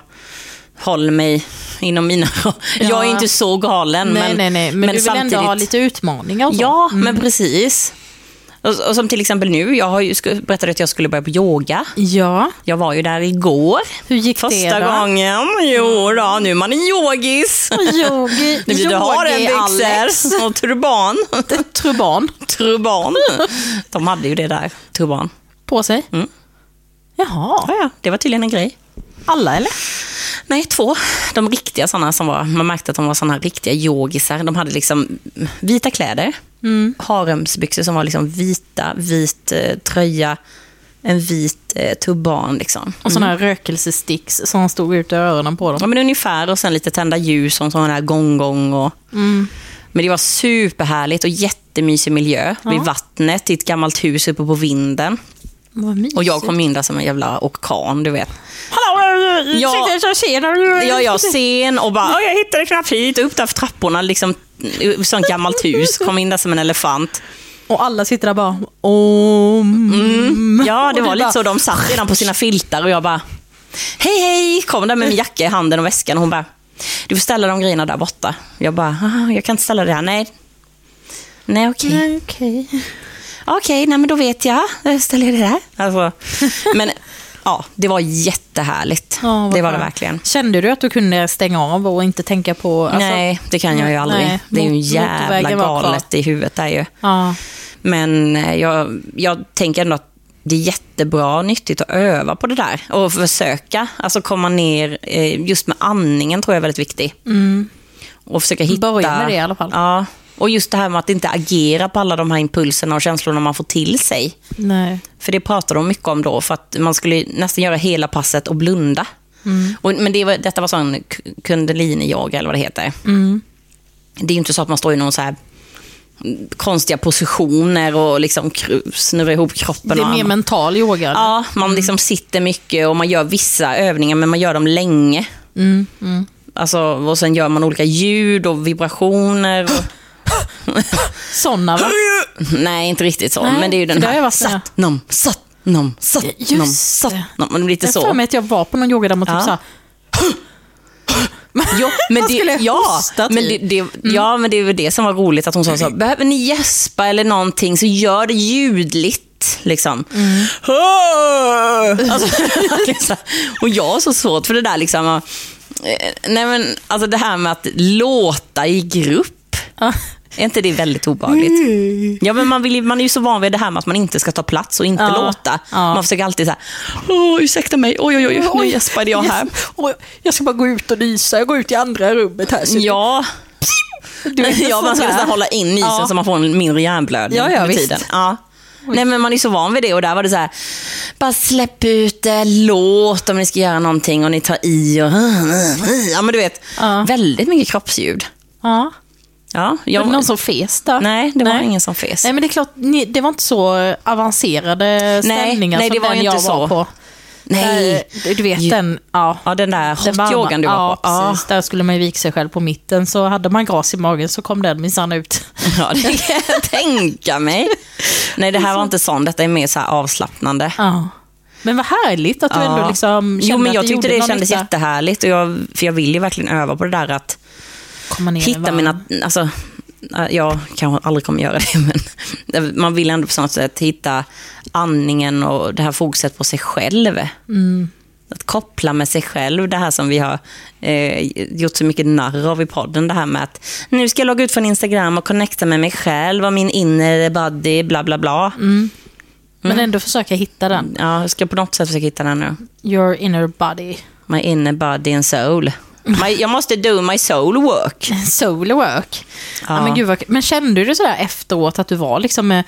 S2: håller mig inom mina... Jag är ju inte så galen.
S1: nej,
S2: men,
S1: nej, nej. Men, du vill ändå ha lite utmaningar och så. Mm.
S2: Ja, men precis. Och, och som till exempel nu, jag har ju sku- berättade att jag skulle börja på yoga.
S1: Ja.
S2: Jag var ju där igår.
S1: Hur gick
S2: Första
S1: det då?
S2: gången. Jo då, nu är man en yogis.
S1: Yogi,
S2: Nu blir det
S1: Alex.
S2: harembyxor och turban.
S1: Turban
S2: turban. De hade ju det där, turban.
S1: på sig.
S2: Mm.
S1: Jaha.
S2: Ja, ja, det var tydligen en grej.
S1: Alla eller?
S2: Nej, två. De riktiga sådana som var, man märkte att de var sådana här riktiga yogisar. De hade liksom vita kläder, haremsbyxor som var liksom vita, vit eh, tröja, en vit eh, turban liksom.
S1: Och sådana här rökelsesticks som stod ut i öronen på
S2: Ja,
S1: dem.
S2: men ungefär och sen lite tända ljus som sådana här gong-gong och Men det var superhärligt och jättemysig miljö vid vattnet i ett gammalt hus uppe på vinden.
S1: Vad mysigt.
S2: Och jag kom in där som en jävla orkan, du vet.
S1: Hallå,
S2: Ja.
S1: ursäkta, jag tjenar.
S2: Ja, jag sen och bara, "Åh, jag hittade knappt hit. Upp där för trapporna, liksom, i sånt gammalt hus. Kom in där som en elefant.
S1: Och alla sitter där bara, om.
S2: Ja, det
S1: Mm. Och
S2: var
S1: du
S2: lite
S1: bara-
S2: så. De satt redan på sina filtar och jag bara, hej hej, kom där med min jacka i handen och väskan. Och hon bara, du får ställa de grejerna där borta. Jag bara, "Ah, jag kan inte ställa det här, nej. Nej, okej.
S1: Nej, Okej.
S2: Okej, nej men då vet jag. Jag ställer det där. Alltså, men ja, det var jättehärligt.
S1: Ja, vad
S2: det var det
S1: skönt.
S2: verkligen.
S1: Kände du att du kunde stänga av och inte tänka på... alltså-
S2: nej, det kan jag ju aldrig.
S1: nej,
S2: det är ju en
S1: mot-
S2: jävla
S1: motorvägen var kvar.
S2: galet i huvudet där ju.
S1: Ja.
S2: Men eh, jag, jag tänker ändå att det är jättebra och nyttigt att öva på det där och försöka alltså komma ner. eh, Just med andningen tror jag är väldigt viktig. Och försöka hitta...
S1: Mm. Börja med det i alla fall.
S2: Ja. Och just det här med att inte agera på alla de här impulserna och känslorna man får till sig.
S1: Nej.
S2: För det pratade de mycket om då, för att man skulle nästan göra hela passet och blunda.
S1: Mm.
S2: Och, men det var, detta var sån k- kundalini-yoga, eller vad det heter.
S1: Mm.
S2: Det är ju inte så att man står i någon så här konstiga positioner och liksom kru- snurrar ihop kroppen.
S1: Det
S2: och
S1: är mer Mm.
S2: armarna.
S1: mental yoga. eller?
S2: Ja, man liksom sitter mycket och man gör vissa övningar, men man gör dem länge.
S1: Mm.
S2: Alltså, och sen gör man olika ljud och vibrationer. Och...
S1: Sådana va?
S2: Nej, inte riktigt så.
S1: Nej,
S2: men det är ju den
S1: för det har jag
S2: här...
S1: varit med.
S2: Satt, nom, satt, nom, satt,
S1: Just
S2: nom,
S1: det.
S2: satt, nom. Men lite
S1: Jag
S2: så.
S1: har för mig att jag var på någon yoga där man typ
S2: Ja.
S1: såhär...
S2: Jo, men
S1: Man skulle
S2: det, ja,
S1: hosta,
S2: men det,
S1: typ.
S2: det, ja, men det var det som var roligt att hon sa så. Behöver ni gäspa eller någonting så gör det ljudligt. Liksom.
S1: Mm.
S2: Alltså, verkligen så här. och jag har så svårt för det där. Liksom, eh, nej, men, alltså det här med att låta i grupp.
S1: "Ah,
S2: Är inte det väldigt obehagligt? Ja, men man, vill, ju- man är ju så van vid det här med att man inte ska ta plats och inte
S1: Ja.
S2: låta.
S1: Ja.
S2: Man försöker alltid så här, Åh, ursäkta mig, oj, oj, oj, nu gäspade jag här.
S1: Oj, jag ska bara gå ut och nysa. Jag går ut i andra rummet här. Så
S2: Ja,
S1: du vet,
S2: ja, man
S1: sådär.
S2: skulle nästan hålla in isen
S1: Ja.
S2: så man får en mindre hjärnblödning
S1: Ja, ja,
S2: med
S1: visst.
S2: tiden. Ja. Nej, men man är så van vid det och där var det så här, bara släpp ut det, låt om ni ska göra någonting och ni tar i och... Ja, men du vet,
S1: Ja.
S2: väldigt mycket kroppsljud.
S1: Ja.
S2: Ja,
S1: Var
S2: jag,
S1: det någon som fes där?
S2: nej, det var
S1: Nej.
S2: ingen som fes.
S1: Nej, men det är klart, ni, det var inte så avancerade ställningar
S2: nej,
S1: som
S2: det var
S1: den
S2: ju
S1: jag
S2: inte
S1: var
S2: så.
S1: på.
S2: Nej.
S1: Eh, Du vet den, ja.
S2: Ja, den där
S1: Den varma.
S2: hotyogan du var
S1: ja,
S2: på. Ja,
S1: precis. Där skulle man ju vika sig själv på mitten, så hade man gras i magen så kom den minsann ut.
S2: ja, det kan jag tänka mig. Nej, det här var inte sån. Detta är mer så här avslappnande.
S1: Ja. Men vad härligt att du ändå liksom kände
S2: jo, men jag
S1: att
S2: tyckte
S1: gjorde
S2: det
S1: någon
S2: kändes
S1: nytta.
S2: jättehärligt. Och jag, för jag vill ju verkligen öva på det där att
S1: Komma ner i
S2: hitta
S1: varv.
S2: mina... Alltså, äh, jag kanske aldrig kommer göra det, men äh, man vill ändå på något sätt hitta andningen och det här fokuset på sig själv. Att koppla med sig själv, det här som vi har eh, gjort så mycket narr av i podden. Det här med att nu ska jag logga ut från Instagram och connecta med mig själv och min inner body, bla bla bla.
S1: Men
S2: Mm.
S1: ändå försöka hitta den.
S2: Ja, jag ska på något sätt försöka hitta den nu.
S1: Your inner body.
S2: My inner body and soul. My, jag måste do my soul work.
S1: Soul work. Ja.
S2: Ja.
S1: men, gud vad, men kände du sådär efteråt att du var liksom... eh,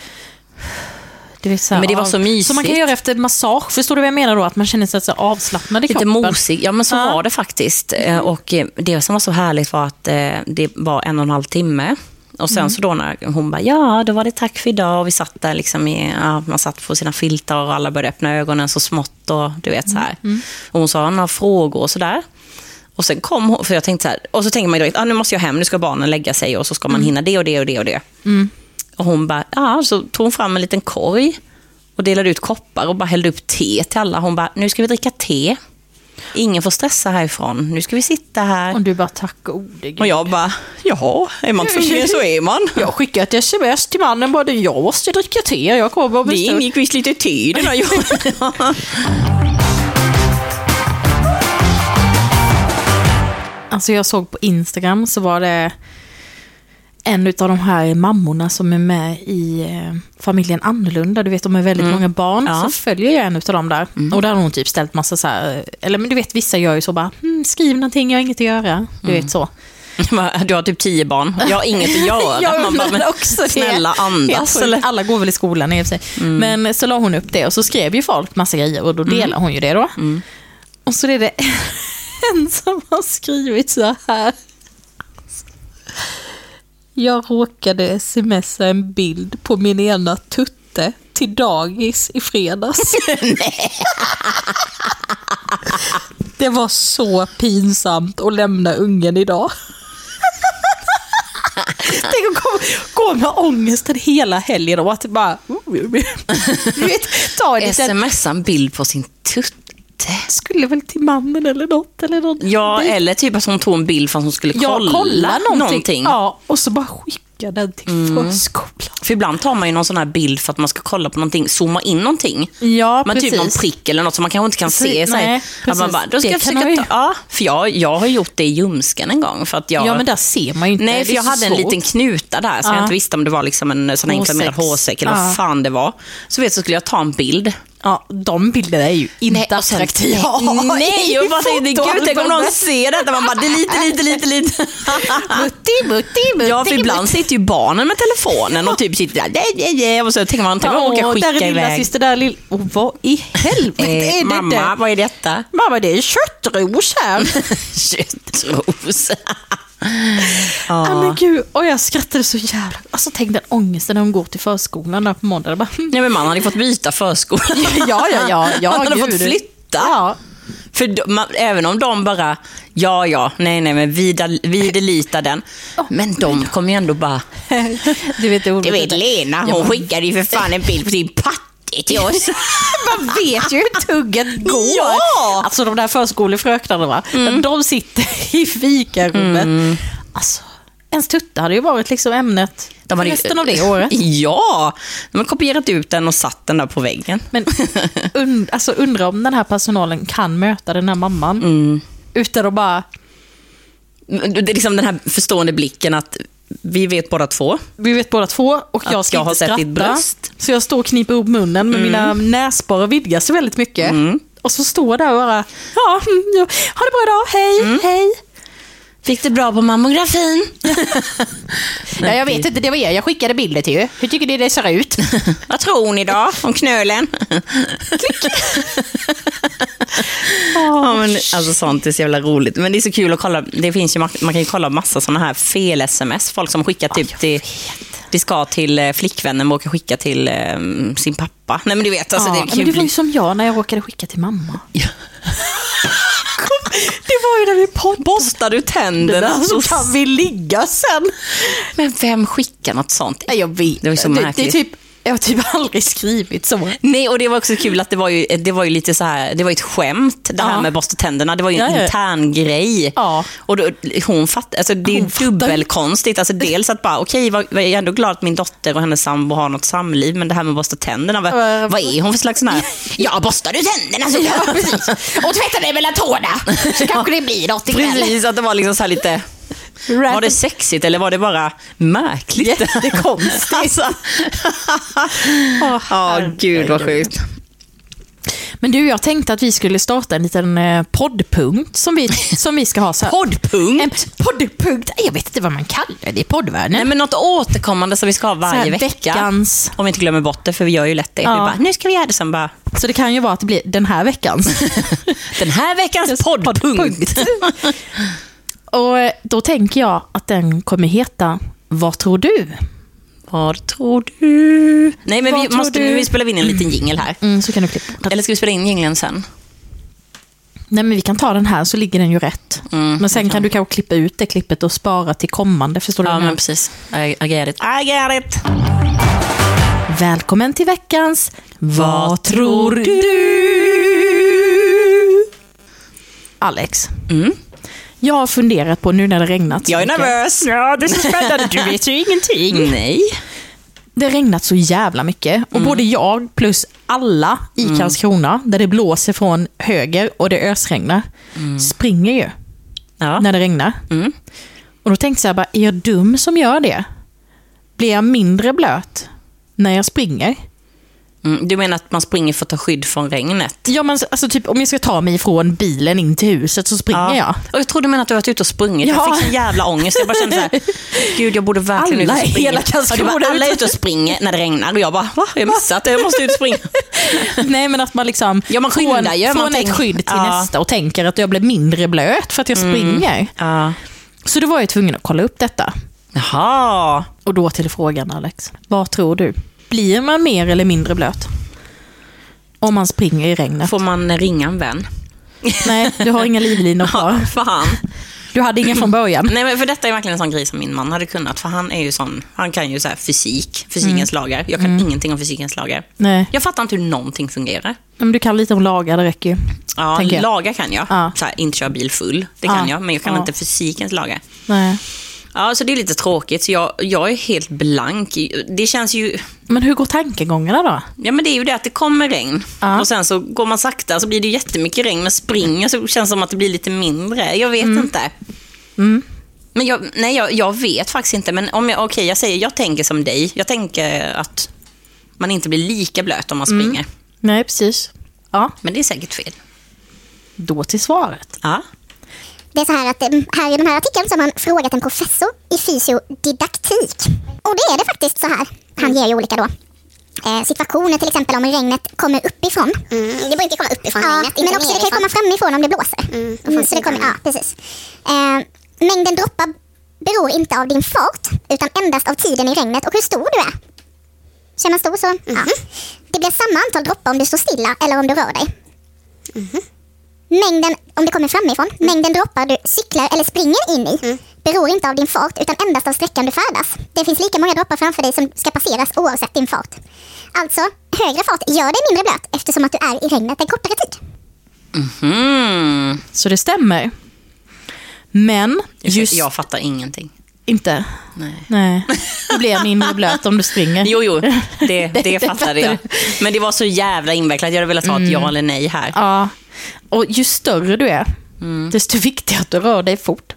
S1: Du vet, såhär,
S2: Men det var så mysigt.
S1: Som man kan göra efter massage. Förstår du vad jag menar då? Att man känner sig så avslappnad i
S2: Lite
S1: kroppen.
S2: mosig. Ja, men så
S1: Ja. Mm.
S2: var det faktiskt. Eh, Och eh, det som var så härligt var att eh, det var en och en halv timme. Och
S1: Mm.
S2: sen så då när hon bara, ja, då var det tack för idag. Och vi satt där liksom i, ja, man satt på sina filtar och alla började öppna ögonen så smått och du vet så här.
S1: Mm.
S2: Och hon sa några frågor och så där. Och sen kom hon, för jag tänkte så här, och så tänker man ju direkt, ah, nu måste jag hem, nu ska barnen lägga sig och så ska man
S1: Mm.
S2: hinna det och det och det och det. Och hon bara, ja, så tog hon fram en liten korg och delade ut koppar och bara hällde upp te till alla. Hon bara, nu ska vi dricka te. Ingen får stressa härifrån. Nu ska vi sitta här.
S1: Och du bara, tack gode gud.
S2: Och jag bara, jaha, är man tvungen så är man.
S1: Jag skickade ett sms till mannen bara, jag måste dricka te, jag kommer om
S2: Det
S1: en stund.
S2: ingick visst lite tid den här jorden.
S1: Alltså jag såg på Instagram så var det en av de här mammorna som är med i eh, familjen Annorlunda. Du vet, de är väldigt många barn.
S2: Mm. Ja. Mm.
S1: Så följer jag en av dem där. Och där har hon typ ställt massa så här, eh, eller men du vet vissa gör ju så bara, "Mm, skriv någonting, jag har inget att göra. Du
S2: Mm.
S1: vet så.
S2: Jag bara, Du har typ tio barn, jag har inget att göra. Man bara, men snälla
S1: Helt
S2: andas. Mm.
S1: sjukt.
S2: Eller?
S1: Alla går väl i skolan i och för sig. Men eh, så la hon upp det och så skrev ju folk massa grejer och då
S2: Mm.
S1: delade hon ju det då. Och så är det en som har skrivit så här. Jag råkade smsa en bild på min ena tutte till dagis i fredags. Det var så pinsamt att lämna ungen idag. Tänk att gå, gå med ångesten hela helgen och att bara... "Mm, Du vet, ta en liten...
S2: Smsa en bild på sin tutte.
S1: Skulle väl till mannen eller något. Eller något.
S2: Ja,
S1: Det-
S2: eller typ att hon tog en bild för att hon skulle
S1: Ja,
S2: kolla, någonting.
S1: Ja, och så bara skicka den till förskolan.
S2: För ibland tar man ju någon sån här bild för att man ska kolla på någonting, zooma in någonting.
S1: Ja,
S2: men typ någon
S1: precis.
S2: prick eller något som man kanske inte kan se.
S1: Precis,
S2: Så här.
S1: nej,
S2: att man
S1: precis.
S2: bara, då ska
S1: Det
S2: jag
S1: kan
S2: försöka
S1: man ju.
S2: ta, ja, för jag, jag har gjort det i ljumsken en gång. För att jag,
S1: Ja, men där ser man ju inte.
S2: Nej,
S1: Det
S2: för
S1: är
S2: jag
S1: så
S2: hade en
S1: svårt.
S2: liten knuta där, så jag
S1: Ja.
S2: inte visste om det var liksom en sån här inflammerad
S1: Hårsäck.
S2: hårsäck eller vad
S1: Ja.
S2: fan det var. Så vet jag, så skulle jag ta en bild.
S1: Ja, de bilderna är ju inte
S2: Nej, och sen-
S1: attraktiva.
S2: Nej, jag bara tänkte, gud, tänk om någon ser detta. Man bara, delete, delete, delete, delete.
S1: Mutti, mutti, mutti.
S2: Ja, för ibland sitter ju barnen med telefonen och typ sitter där, "Nej, nej, nej", och så tänker man, tänk om man
S1: Åh,
S2: orkar
S1: där
S2: skicka
S1: är lilla
S2: iväg.
S1: syster, där är lill... Och vad i helvete är det
S2: Eh, mamma,
S1: där?
S2: vad är detta?
S1: Mamma, det är köttros här.
S2: Köttros.
S1: Ja.
S2: ja.
S1: men gud, och jag skrattade så jävla... Alltså tänk den ångesten när hon går till förskolan där på måndag. Jag Bara,
S2: Nej, men man hade ju fått byta förskola.
S1: ja, ja, ja, ja,
S2: man hade
S1: gud.
S2: fått flytta.
S1: Ja.
S2: För de, man, även om de bara, ja, ja, nej, nej, men vi, del- vi delitar den. Men de kommer ju ändå bara,
S1: Du vet, det
S2: du vet Lena, hon skickade ju för fan en bild på sin patte till oss.
S1: Man vet ju hur tugget går.
S2: Ja! Mm.
S1: Alltså de där förskolefröknarna, va? de sitter i fikarummet. Alltså, ens tutte hade ju varit liksom ämnet
S2: De hade ju-
S1: resten av det året.
S2: Ja, de har kopierat ut den och satt den där på väggen.
S1: Men und, alltså, undra om den här personalen kan möta den här mamman
S2: Mm.
S1: utan att bara,
S2: Det är liksom den här förstående blicken att vi vet båda två.
S1: vi vet båda två och jag
S2: Att
S1: ska
S2: jag
S1: inte
S2: har sett
S1: skratta.
S2: ditt bröst. Mm.
S1: Så jag står och kniper ihop munnen men mina näsborrar vidgas ju väldigt mycket. Och så står jag där och bara, ja, mm, ja, ha det bra idag, hej,
S2: Mm.
S1: hej.
S2: Fick det bra på mammografin?
S1: Ja, jag vet inte, det var er jag skickade bilder till ju. Hur tycker ni det ser ut?
S2: Vad tror hon idag om knölen? ja, men, alltså sånt är så jävla roligt. Men det är så kul att kolla. Det finns ju, man kan ju kolla massa sådana här fel-sms. Folk som skickar typ till... Det ska till eh, flickvännen, men råkar skicka till eh, sin pappa. Nej men du vet, alltså,
S1: ja,
S2: det
S1: men
S2: kan ju
S1: det var ju
S2: bli...
S1: som jag när jag råkade skicka till mamma.
S2: Ja.
S1: Det var ju när vi poddade.
S2: Borstar du tänderna? Alltså,
S1: Så kan vi ligga sen.
S2: Men vem skickar något sånt?
S1: Nej, jag vet
S2: Det var ju så
S1: det, det är
S2: märkligt.
S1: typ Jag har typ aldrig skrivit så.
S2: Nej, och det var också kul att det var ju, det var ju lite så här, det var ju ett skämt det här
S1: Ja.
S2: med borsta tänderna. Det var ju en
S1: Ja, ja.
S2: intern grej.
S1: Ja.
S2: Och då, hon fatt, alltså, det är ju
S1: Hon fattar ju.
S2: dubbelkonstigt. Alltså, dels att bara, okej, vad- vad- jag är ändå glad att min dotter och hennes sambo har något samliv, men det här med borsta tänderna, vad,
S1: Äh,
S2: vad är hon för slags sån här, ja, borstar du tänderna så
S1: Ja, precis.
S2: Och tvätta dig mellan tårna, så kanske det blir något Precis, att det var liksom så här lite, var det sexigt eller var det bara märkligt?
S1: Jättekonstigt.
S2: alltså,
S1: Åh,
S2: ja,
S1: herregud.
S2: gud vad sjukt.
S1: Men du, jag tänkte att vi skulle starta en liten eh, poddpunkt som vi, som vi ska ha. Så här.
S2: Poddpunkt.
S1: En poddpunkt? Jag vet inte vad man kallar det i poddvärlden.
S2: Nej, men något återkommande som vi ska ha
S1: Så här,
S2: varje vecka.
S1: veckans.
S2: Om vi inte glömmer bort det, för vi gör ju lätt det.
S1: Ja.
S2: Vi bara, nu ska vi göra det, sen bara,
S1: Så det kan ju vara att det blir den här veckans.
S2: den här veckans poddpunkt.
S1: Och eh, då tänker jag att den kommer heta Vad tror du?
S2: Vad tror du? Nej, men
S1: Vad
S2: vi
S1: tror
S2: måste
S1: du?
S2: nu vi spelar vi in en liten jingel här.
S1: Mm, så kan du klippa bort den.
S2: Eller ska vi spela in jingeln sen?
S1: Nej, men vi kan ta den här så ligger den ju rätt.
S2: Mm,
S1: men sen kan du kanske klippa ut det klippet och spara till kommande. Förstår
S2: Ja,
S1: du?
S2: men precis. I, I get it. I get it.
S1: Välkommen till veckans Vad tror du? Alex,
S2: Mm.
S1: jag har funderat på nu när det regnat så
S2: Jag är
S1: mycket.
S2: nervös.
S1: Ja, det är så spännande. Du vet ju ingenting.
S2: Nej.
S1: Det har regnat så jävla mycket. Och både jag plus alla i Karlskrona, där det blåser från höger och det ösregnar, springer ju
S2: Ja.
S1: när det regnar.
S2: Mm.
S1: Och då tänkte jag bara, är jag dum som gör det? Blir jag mindre blöt när jag springer?
S2: Mm. Du menar att man springer för att ta skydd från regnet?
S1: Ja, men alltså typ om jag ska ta mig från bilen in till huset så springer jag.
S2: Och jag trodde du menade att du varit ute och sprungit. Jag
S1: Ja.
S2: fick sån jävla ångest. Jag bara kände såhär, gud jag borde verkligen
S1: Alla
S2: ut och
S1: i
S2: springa.
S1: hela Karlskrona
S2: Ja, du bara, alla är
S1: ute.
S2: ute och springer när det regnar. Och jag bara, va? Har Jag missat det. Jag måste ut och springa.
S1: Nej, men att man liksom
S2: Ja, man skyndar
S1: från,
S2: ju, man
S1: från ett
S2: tänker-
S1: skydd till
S2: Ja. Mm.
S1: nästa och tänker att jag blir mindre blöt för att jag springer.
S2: Ja.
S1: Så då var jag tvungen att kolla upp detta.
S2: Jaha.
S1: Och då till frågan Alex. Vad tror du? Blir man mer eller mindre blöt? Om man springer i regnet?
S2: Får man ringa en vän?
S1: Nej, du har inga livlinor kvar.
S2: Fan.
S1: Du hade ingen från början.
S2: Nej men för detta är verkligen en sån grej som min man hade kunnat. För han är ju sån, han kan ju så här fysik,
S1: Mm.
S2: fysikens lagar. Jag kan ingenting om fysikens lagar.
S1: Nej,
S2: Jag fattar inte hur någonting fungerar.
S1: men du kan lite om lagar, det räcker ju.
S2: Ja,
S1: Tänker jag.
S2: lagar kan jag.
S1: Ja.
S2: Så här, inte köra bil full, det
S1: Ja.
S2: kan jag. Men jag kan
S1: Ja.
S2: inte fysikens lagar.
S1: Nej.
S2: Ja, så det är lite tråkigt. Så jag, jag är helt blank. Det känns ju...
S1: Men hur går tankegångarna då?
S2: Ja, men det är ju det att det kommer regn.
S1: Ja.
S2: Och sen så går man sakta så blir det ju jättemycket regn. Men springer så känns det som att det blir lite mindre. Jag vet inte. Men jag, nej, jag, jag vet faktiskt inte. Men om jag, okej, jag säger, jag tänker som dig. Jag tänker att man inte blir lika blöt om man springer.
S1: Nej, precis. Ja,
S2: Men det är säkert fel.
S1: då till svaret.
S2: Ja.
S3: Det är så här att eh, här i den här artikeln så har man frågat en professor i fysiodidaktik. Och det är det faktiskt så här.
S4: Mm.
S3: Han ger ju olika då. Eh, situationer till exempel om regnet kommer uppifrån.
S4: Mm, Det borde inte komma uppifrån
S3: Ja,
S4: regnet, inte
S3: men också det kan ju
S4: nerifrån.
S3: komma framifrån om det blåser. Mm, så det kommer, ja, precis. Eh, mängden droppar beror inte av din fart utan endast av tiden i regnet och hur stor du är. Så är man stor så,
S4: Mm-hmm.
S3: ja. Det blir samma antal droppar om du står stilla eller om du rör dig. Mängden, om det kommer framifrån, mängden droppar du cyklar eller springer in i beror inte av din fart utan endast av sträckan du färdas. Det finns lika många droppar framför dig som ska passeras oavsett din fart. Alltså, högre fart gör dig mindre blöt eftersom att du är i regnet en kortare tid.
S2: Mm.
S1: Så det stämmer. Men just
S2: Jag fattar ingenting.
S1: inte.
S2: Nej.
S1: Nej, du blir mindre blöt om du springer.
S2: Jo, jo, det, det,
S1: det
S2: fattade jag. Men det var så jävla invecklat. Jag hade velat ha ett ja eller nej här.
S1: Ja, och ju större du är, desto viktigare att du rör dig fort.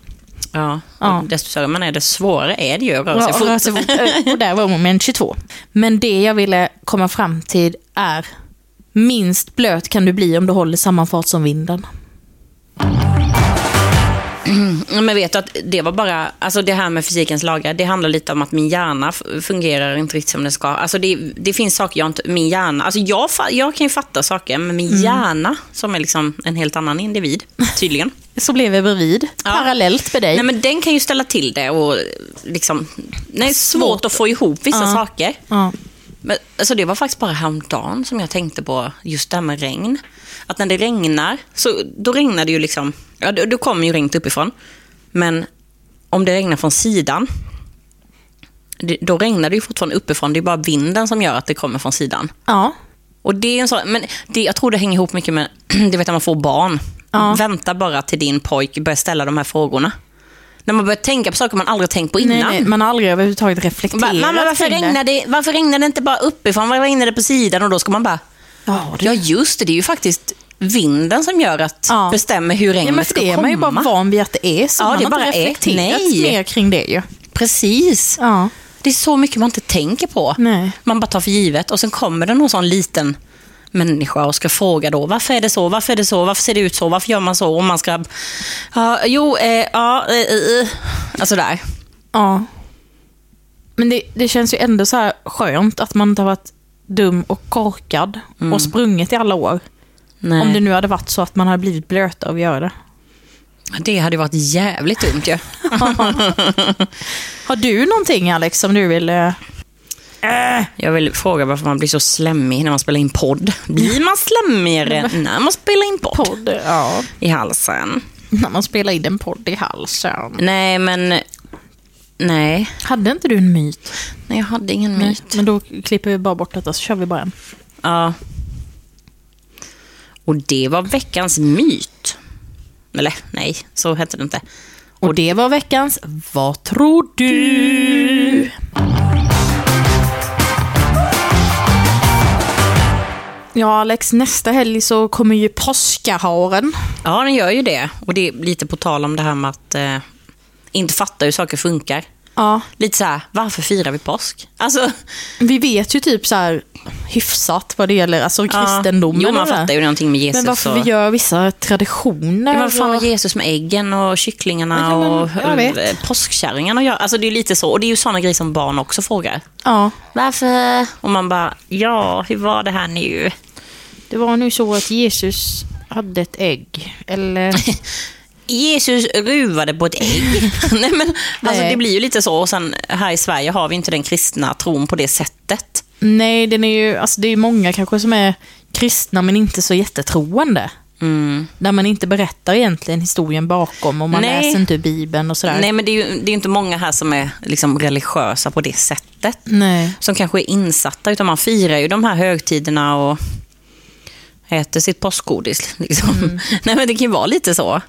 S2: Ja.
S1: Ja.
S2: Och desto större man är, desto svårare är det ju att röra sig
S1: Rör- rör
S2: fort.
S1: sig fort. Eh, Och där var moment 22. Men det jag ville komma fram till är, minst blöt kan du bli om du håller samma fart som vinden.
S2: Men vet du att det var bara, alltså det här med fysikens lagar, det handlar lite om att min hjärna f- fungerar inte riktigt som den ska. Alltså det, det finns saker jag inte, min hjärna, alltså jag, fa- jag kan ju fatta saker, men
S1: Mm.
S2: min hjärna som är liksom en helt annan individ, tydligen.
S1: Så blev jag bredvid,
S2: Ja.
S1: parallellt med dig.
S2: Nej men den kan ju ställa till det och liksom, nej, svårt,
S1: Svårt.
S2: att få ihop vissa
S1: Ja.
S2: saker.
S1: ja.
S2: Men, alltså det var faktiskt bara häromdagen som jag tänkte på just det här med regn. Att när det regnar, så, då regnar det ju liksom, ja, då, då kommer ju regnet uppifrån. Men om det regnar från sidan, det, då regnar det ju fortfarande uppifrån. Det är bara vinden som gör att det kommer från sidan.
S1: Ja.
S2: Och det är en sån, men det, jag tror det hänger ihop mycket med, det vet när man får barn.
S1: Ja.
S2: Vänta bara till din pojk börjar ställa de här frågorna. När man börjar tänka på saker man aldrig tänkt på innan.
S1: Nej, nej, man har aldrig överhuvudtaget
S2: Bara,
S1: reflekterat
S2: Mamma, varför
S1: kring
S2: regnar, det, varför regnar det inte bara uppifrån? Varför regnar det på sidan? Och då ska man bara,
S1: Ja, det...
S2: ja just det, det är ju faktiskt vinden som gör att,
S1: Ja.
S2: bestämmer hur regnet
S1: Ja, men för
S2: ska
S1: det är
S2: komma.
S1: man ju bara van vid att det är så.
S2: Ja,
S1: man
S2: det
S1: har inte
S2: bara är.
S1: reflekterat
S2: Nej.
S1: mer kring det ju.
S2: Precis.
S1: Ja.
S2: Det är så mycket man inte tänker på.
S1: Nej.
S2: Man bara tar för givet och sen kommer det någon sån liten människa och ska fråga då varför är det så, varför är det så, varför ser det ut så, varför gör man så och man ska... Ja, jo, eh, ja, eh, eh, eh. Alltså där.
S1: Ja. Men det, det känns ju ändå så här skönt att man inte har varit dum och korkad och sprungit i alla år.
S2: Mm. Nej.
S1: Om det nu hade varit så att man hade blivit blöt av att göra det.
S2: det hade ju varit jävligt dumt ju.
S1: Har du någonting Alex som du vill... eh,
S2: Jag vill fråga varför man blir så slemmig när man spelar in podd. Blir man slemmigare när man spelar in podd?
S1: Podd? Ja.
S2: I halsen?
S1: När man spelar in en podd i halsen.
S2: Nej, men... Nej,
S1: Hade inte du en myt?
S2: nej jag hade ingen myt.
S1: Men då klipper vi bara bort detta så kör vi bara en.
S2: Ja. Och det var veckans myt. Eller nej, så hette det inte.
S1: Och det var veckans Vad tror du? Ja, Alex, nästa helg så kommer ju påskaharen.
S2: Ja, den gör ju det. Och det är lite på tal om det här med att eh, inte fatta hur saker funkar.
S1: Ja,
S2: Lite så här, varför firar vi påsk? Alltså,
S1: vi vet ju typ så här hyfsat vad det gäller alltså kristendomen.
S2: Jo,
S1: och
S2: man
S1: det där.
S2: fattar ju någonting med Jesus.
S1: Men varför
S2: och...
S1: vi gör vissa traditioner.
S2: Ja, men vad fan
S1: och-
S2: har Jesus med äggen och kycklingarna
S1: Alltså- Ja, men jag
S2: och
S1: vet.
S2: eh, påskkärringarna att göra? Alltså det är ju lite så. Och det är ju sådana grejer som barn också frågar.
S1: ja,
S2: Varför? Och man bara, ja, hur var det här nu?
S1: det var nu så att Jesus hade ett ägg. Eller...
S2: Jesus ruvade på ett ägg. Nej, men, alltså,
S1: Nej.
S2: det blir ju lite så. Och sen, här i Sverige har vi inte den kristna tron på det sättet.
S1: Nej, den är ju, alltså det är ju många kanske som är kristna men inte så jättetroende.
S2: Mm.
S1: Där man inte berättar egentligen historien bakom och man
S2: Nej.
S1: läser inte ur Bibeln och sådär.
S2: Nej, men det är ju det är inte många här som är liksom, religiösa på det sättet.
S1: Nej.
S2: Som kanske är insatta, utan man firar ju de här högtiderna och äter sitt påskgodis. Liksom. Nej, men det kan ju vara lite så.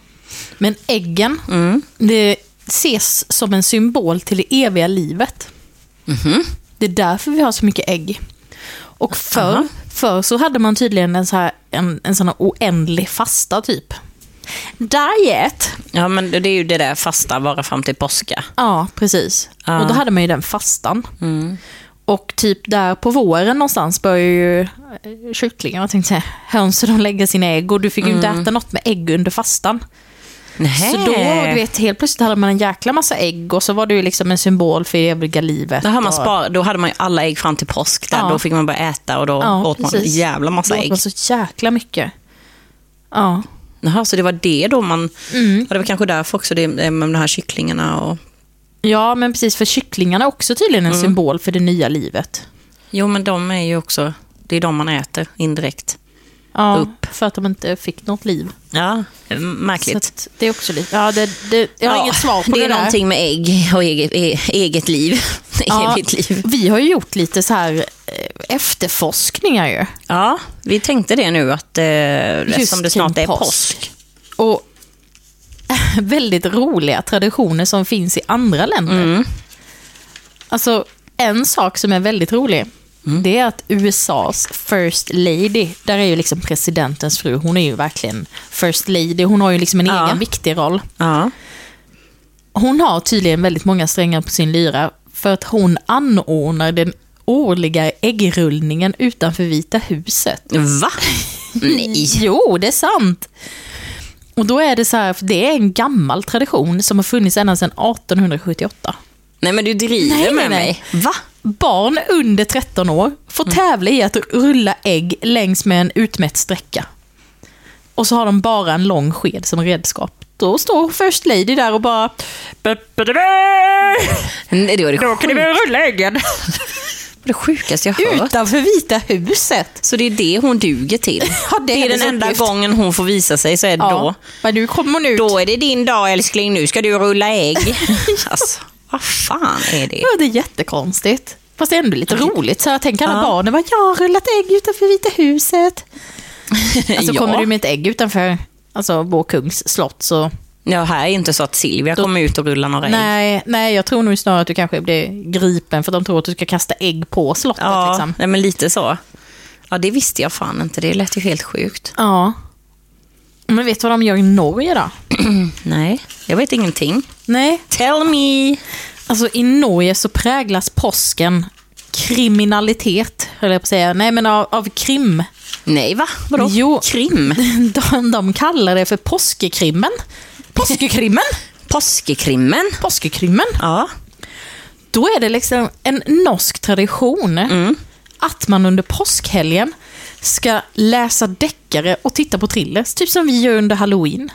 S1: Men äggen,
S2: Mm.
S1: det ses som en symbol till det eviga livet.
S2: Mhm.
S1: Det är därför vi har så mycket ägg. Och förr,
S2: Aha.
S1: förr så hade man tydligen en, så här, en, en sån här oändlig fasta typ. Diet.
S2: Ja, men det är ju det där fasta, vara fram till påska.
S1: Ja, precis.
S2: Ja. Mm.
S1: Och då hade man ju den fastan. Och typ där på våren någonstans börjar ju eh, kycklingar, jag tänkte säga, hönsen de lägger sina ägg och du fick ju
S2: Mm.
S1: inte äta något med ägg under fastan.
S2: Nej.
S1: Så då, du vet, helt plötsligt hade man en jäkla massa ägg och så var det ju liksom en symbol för det eviga livet.
S2: Då, har man
S1: och-
S2: spar, då hade man ju alla ägg fram till påsk. Där.
S1: Ja.
S2: Då fick man bara äta och då
S1: Ja,
S2: åt man en
S1: precis.
S2: jävla massa
S1: Då åt
S2: ägg.
S1: man så jäkla mycket. Ja.
S2: Jaha, så det var det då man... Ja, det var kanske därför också det med de här kycklingarna och...
S1: ja, men precis, för kycklingarna är också tydligen en
S2: Mm.
S1: symbol för det nya livet.
S2: Jo, men de är ju också... Det är de man äter indirekt.
S1: Ja,
S2: Upp.
S1: för att de inte fick något liv.
S2: Ja, eh,
S1: Så
S2: märkligt.
S1: att det är också lite... Ja, det, det, jag har
S2: Ja,
S1: inget svar på det,
S2: Det är
S1: där.
S2: någonting med ägg och eget, e, eget liv.
S1: Ja,
S2: Evigt liv.
S1: Vi har ju gjort lite så här eh, efterforskningar ju.
S2: Ja, vi tänkte det nu att eh,
S1: Just
S2: eftersom det snart
S1: kring
S2: är påsk.
S1: påsk. Och väldigt roliga traditioner som finns i andra länder.
S2: Mm.
S1: Alltså, en sak som är väldigt rolig,
S2: Mm.
S1: det är att USAs first lady, där är ju liksom presidentens fru, hon är ju verkligen first lady, hon har ju liksom en
S2: Ja.
S1: egen viktig roll.
S2: Ja.
S1: Hon har tydligen väldigt många strängar på sin lyra för att hon anordnar den årliga äggrullningen utanför Vita huset.
S2: Va? Nej.
S1: Jo, det är sant. Och då är det så här, för det är en gammal tradition som har funnits ända sedan 1878.
S2: Nej, men du driver
S1: Nej, nej,
S2: med
S1: nej.
S2: mig. Va?
S1: Barn under 13 år får tävla i att rulla ägg längs med en utmätt sträcka. Och så har de bara en lång sked som redskap. Då står First Lady där och bara...
S2: Nej, det var det sjukaste.
S1: rulla äggen.
S2: Det sjukaste jag hört.
S1: Utanför Vita huset.
S2: Så det är det hon duger till.
S1: Ja,
S2: Det är den enda gången hon får visa sig, så är det
S1: Ja.
S2: då.
S1: Men nu kommer hon ut.
S2: Då är det din dag älskling, nu ska du rulla ägg. alltså, Vad fan är det?
S1: Ja, det är jättekonstigt. Fast det är ändå lite roligt. Så jag tänker alla
S2: Ja.
S1: barnen bara, jag har rullat ägg utanför Vita huset. Alltså
S2: ja.
S1: kommer du med ett ägg utanför alltså, vår kungs slott så...
S2: ja, här är inte så att Silvia kommer ut och rullar några ägg.
S1: Nej, nej, jag tror nog snarare att du kanske blir gripen för de tror att du ska kasta ägg på slottet.
S2: Ja,
S1: Liksom.
S2: nej, men lite så. Ja, det visste jag fan inte. Det lät ju helt sjukt.
S1: ja. Men vet du vad de gör i Norge då?
S2: Nej, jag vet ingenting.
S1: Nej,
S2: Tell me!
S1: Alltså i Norge så präglas påsken kriminalitet, höll jag på att säga. Nej, men av, av krim.
S2: Nej, va? Vadå?
S1: Jo.
S2: Krim?
S1: De, de kallar det för påskekrimmen. Påskekrimmen!
S2: Påskekrimmen?
S1: Påskekrimmen.
S2: Ja.
S1: Då är det liksom en norsk tradition
S2: Mm.
S1: att man under påskhelgen ska läsa deckare och titta på thrillers. Typ som vi gör under halloween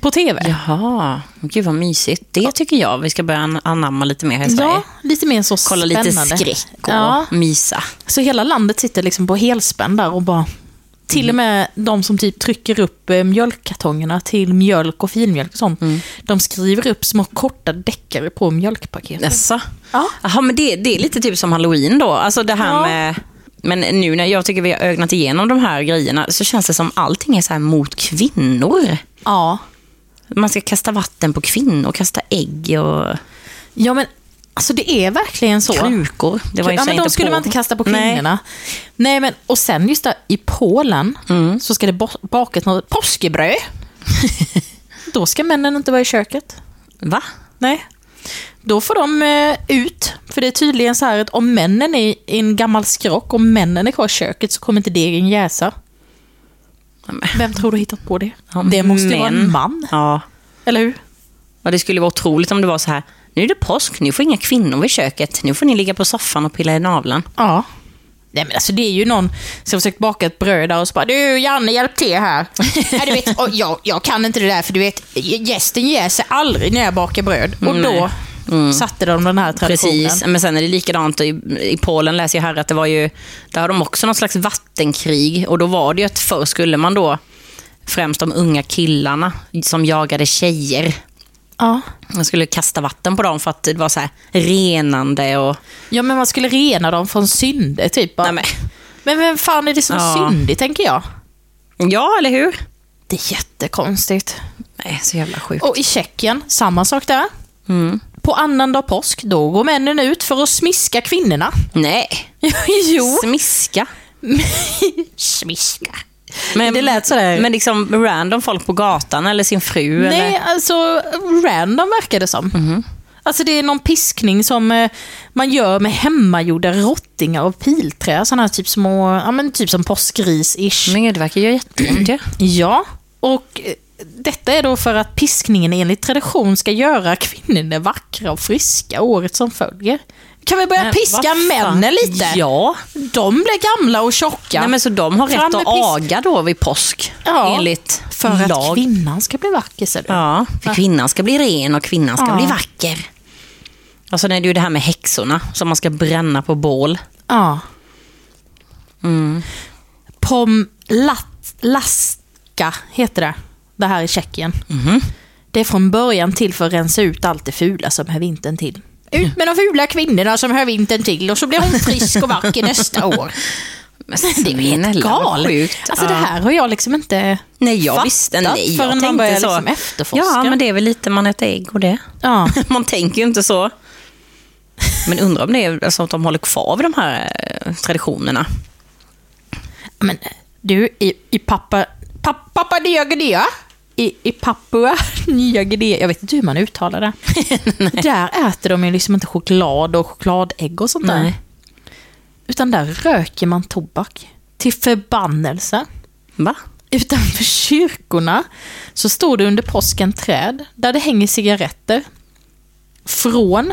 S1: på tv.
S2: Jaha, gud vad mysigt. Det tycker jag vi ska börja an- anamma lite mer här i Sverige.
S1: Ja, lite mer så
S2: Kolla
S1: spännande.
S2: lite skräck och
S1: Ja.
S2: mysa.
S1: Så hela landet sitter liksom på helspänn där och bara... Till och med de som typ trycker upp eh, mjölkkartongerna till mjölk och filmjölk och sånt. De skriver upp små korta deckare på mjölkpaketet.
S2: Jaså?
S1: Ja.
S2: Jaha, men det, det är lite typ som halloween då. Alltså det här
S1: Ja.
S2: med... Men nu när jag tycker vi har ögnat igenom de här grejerna så känns det som allting är så här mot kvinnor.
S1: Ja.
S2: Man ska kasta vatten på kvinnor, kasta ägg och
S1: Ja men, alltså det är verkligen så.
S2: krukor. Det var ju
S1: ja,
S2: så
S1: men de skulle man inte kasta på kvinnorna. Nej. men, och sen just där i Polen så ska det bo- bakas något påskebröd. Då ska männen inte vara i köket.
S2: Nej. Va?
S1: Nej. Då får de eh, ut, för det är tydligen så här att om männen är i en gammal skrock, om männen är kvar i köket så kommer inte degen jäsa. Vem tror du har hittat på det?
S2: Ja,
S1: det måste ju
S2: men-
S1: vara en man,
S2: Ja.
S1: eller hur?
S2: ja. Det skulle vara otroligt om det var så här. Nu är det påsk, nu får inga kvinnor vid köket. Nu får ni ligga på soffan och pilla i naveln.
S1: Ja. Nej men alltså det är ju någon som försökt baka ett bröd där och så bara du Janne hjälp till här. Nej, du vet, och jag, jag kan inte det där för du vet gästen jäser aldrig när jag bakar bröd. Och då satte de den här traditionen.
S2: Mm, Precis, men sen är det likadant i, i Polen läser jag här att det var ju, där har de också någon slags vattenkrig och då var det ju att förr skulle man då, främst de unga killarna som jagade tjejer,
S1: Ja.
S2: man skulle kasta vatten på dem för att det var så här renande och...
S1: ja men man skulle rena dem från synder typ. bara.
S2: Nej,
S1: Men vem fan är det som är
S2: Ja.
S1: syndig, tänker jag?
S2: men, ja, eller hur?
S1: Det är jättekonstigt.
S2: Nej, så jävla sjukt.
S1: Och i Tjeckien, samma sak där.
S2: Mm.
S1: På annandag påsk, då går männen ut för att smiska kvinnorna.
S2: Nej,
S1: jo,
S2: smiska.
S1: smiska.
S2: Men,
S1: Det lät sådär.
S2: Men liksom random folk på gatan eller sin fru
S1: Nej,
S2: eller... Mm-hmm.
S1: alltså random verkar det som. Alltså det är någon piskning som eh, man gör med hemmagjorda rottingar och pilträ. Sådana här typ små, ja men typ som påskris-ish.
S2: Men gud, det verkar ju göra jätteont ju.
S1: Ja, och eh, detta är då för att piskningen enligt tradition ska göra kvinnorna vackra och friska året som följer. Kan vi börja
S2: Men
S1: piska
S2: vad fan?
S1: männen lite?
S2: Ja.
S1: De blir gamla och tjocka.
S2: Nej, men så de har
S1: Fram
S2: rätt
S1: med
S2: att
S1: pisk-
S2: aga då vid påsk?
S1: Ja,
S2: enligt
S1: för att
S2: lag?
S1: kvinnan ska bli vacker ser du.
S2: Ja, för kvinnan ska bli ren och kvinnan ska
S1: Ja.
S2: bli vacker. Och sen är det ju det här med häxorna som man ska bränna på bål.
S1: Ja. Pom lat, Laska heter det. Det här i Tjeckien. Det är från början till för att rensa ut allt det fula som hör vintern till. Ut med de fula kvinnorna som hör vintern till och så blir hon frisk och vacker nästa år.
S2: Men det är ju helt Sjukt.
S1: Alltså det
S2: Ja.
S1: här har jag liksom inte...
S2: Nej, jag
S1: fattat
S2: visste nej, jag
S1: förrän man
S2: tänkte
S1: börjar
S2: så.
S1: liksom efterforska.
S2: Ja, men det är väl lite man äter ägg och det.
S1: Ja.
S2: Man tänker ju inte så. Men undrar om det är så att de håller kvar vid de här eh, traditionerna.
S1: Men du, i, i pappa... Pappa, pappa Nya Guinea? I, I Papua Nya Guinea, jag vet inte hur man uttalar det. där äter de ju liksom inte choklad och chokladägg och sånt där.
S2: Nej.
S1: Utan där röker man tobak. Till förbannelse.
S2: Va?
S1: Utanför kyrkorna så står det under påsken träd där det hänger cigaretter. Från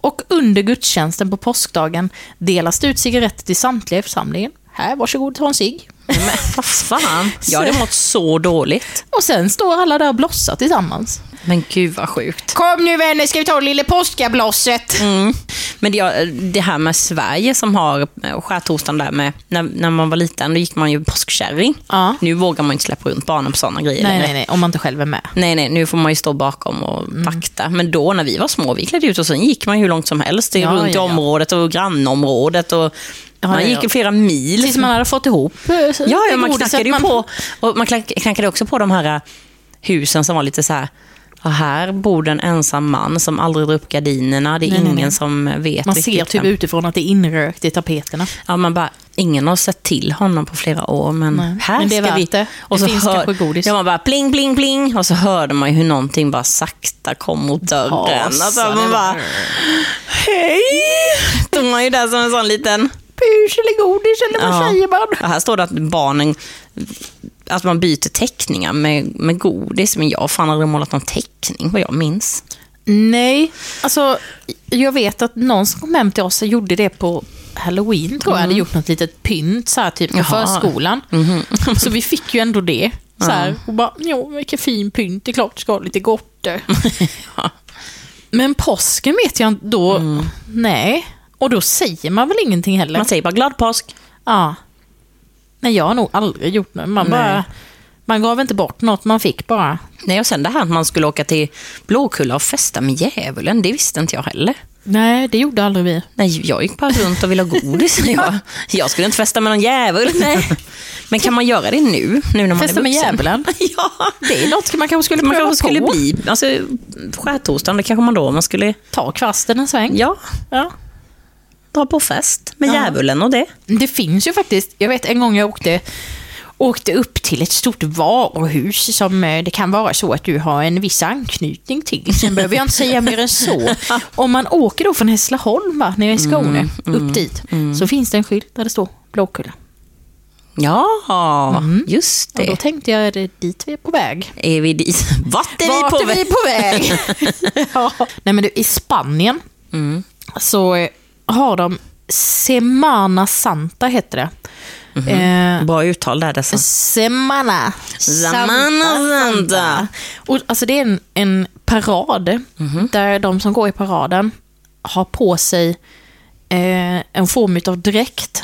S1: och under gudstjänsten på påskdagen delas det ut cigaretter till samtliga i församlingen. Här, varsågod ta en cigg.
S2: Men vad fan? Jag hade mått så dåligt.
S1: Och sen står alla där och blossar tillsammans.
S2: Men gud vad sjukt.
S1: Kom nu vänner, ska vi ta lille påskablosset?
S2: Mm. Men det, det här med Sverige som har eh, skärtorsdagen där med, när, när man var liten, då gick man ju påskkärring.
S1: Ja.
S2: Nu vågar man inte släppa runt barnen på sådana grejer
S1: Nej,
S2: längre.
S1: nej, nej, om man inte själv är med.
S2: Nej, nej, nu får man ju stå bakom
S1: Mm.
S2: och vakta. Men då när vi var små, vi klädde ut oss och sen gick man ju hur långt som helst. Det är
S1: Ja,
S2: runt i
S1: ja, ja.
S2: området och grannområdet. Och man
S1: ja, ja.
S2: gick flera mil.
S1: Tills man hade fått ihop eh,
S2: Ja, ja
S1: det
S2: man
S1: godis,
S2: knackade
S1: att
S2: ju
S1: man-
S2: på. Och man knack- knackade också på de här eh, husen som var lite så här. "Ja, här bor det en ensam man som aldrig drar upp gardinerna. Det är
S1: Nej, nej,
S2: ingen
S1: nej.
S2: som vet
S1: Man
S2: riktigt
S1: ser typ
S2: vem."
S1: utifrån att det är inrökt i tapeterna.
S2: Ja, man bara, ingen har sett till honom på flera år, men
S1: Nej,
S2: här
S1: men det är
S2: ska vi...
S1: värt det.
S2: Och
S1: Det
S2: så
S1: finns kanske godis.
S2: Ja, man bara pling, pling, pling. Och så hörde man ju hur någonting bara sakta kom mot dörren. Alltså,
S1: Rasade
S2: man bara,
S1: bara.
S2: hej! Stod man ju där som en sån liten...
S1: Pus eller godis eller vad säger man?
S2: Ja, här står det att barnen... Att man byter teckningar med, med godis, men jag har fan aldrig målat någon teckning vad jag minns.
S1: Nej, alltså jag vet att någon som kom hem till oss gjorde det på halloween tror jag, hade gjort något litet pynt så här, typ på
S2: Mm. Jaha. Mm-hmm.
S1: förskolan. så vi fick ju ändå det. Så här, Och bara, jo vilken fin pynt, det är klart du ska ha lite gotte. Men påsken vet jag inte, då, nej. Och då säger man väl ingenting heller?
S2: Mm. Man säger bara glad påsk.
S1: ja. Nej, jag har nog aldrig gjort något. Man,
S2: Nej.
S1: bara, man gav inte bort något, man fick bara.
S2: Nej, och sen det här att man skulle åka till Blåkulla och festa med djävulen, det visste inte jag heller.
S1: Nej, det gjorde aldrig vi.
S2: Nej, jag gick bara runt och ville ha godis. jag, jag skulle inte festa med någon djävul. Nej. Men kan man göra det nu? nu när man
S1: Festa
S2: är
S1: med
S2: vuxen?
S1: djävulen?
S2: ja.
S1: Det är något man kanske skulle
S2: Man
S1: pröva
S2: kanske skulle
S1: på.
S2: bli... Alltså, skärtorsdagen, det kanske man då... Man skulle
S1: Ta kvasten en sväng.
S2: ja,
S1: Ja.
S2: dra på fest med
S1: Ja.
S2: djävulen och det.
S1: Det finns ju faktiskt, jag vet en gång jag åkte, åkte upp till ett stort varuhus som eh, det kan vara så att du har en viss anknytning till. Sen behöver jag inte säga mer än så. Om man åker då från Hässleholm va, nere i
S2: Mm,
S1: Skåne, upp dit, så finns det en skylt där det står Blåkulla.
S2: Ja, just
S1: Och
S2: det.
S1: då tänkte jag, är det dit vi är på väg?
S2: Är vi dit? Vart är
S1: Vart
S2: vi på
S1: är vi
S2: väg?
S1: på väg? ja. Nej men du, i Spanien
S2: Mm.
S1: så eh, har de Semana Santa heter det.
S2: Mhm.
S1: Eh,
S2: Bra uttal där dessa.
S1: Semana.
S2: Semana Santa. Mhm.
S1: Och, alltså, det är en, en parad där de som går i paraden har på sig eh, en form av dräkt.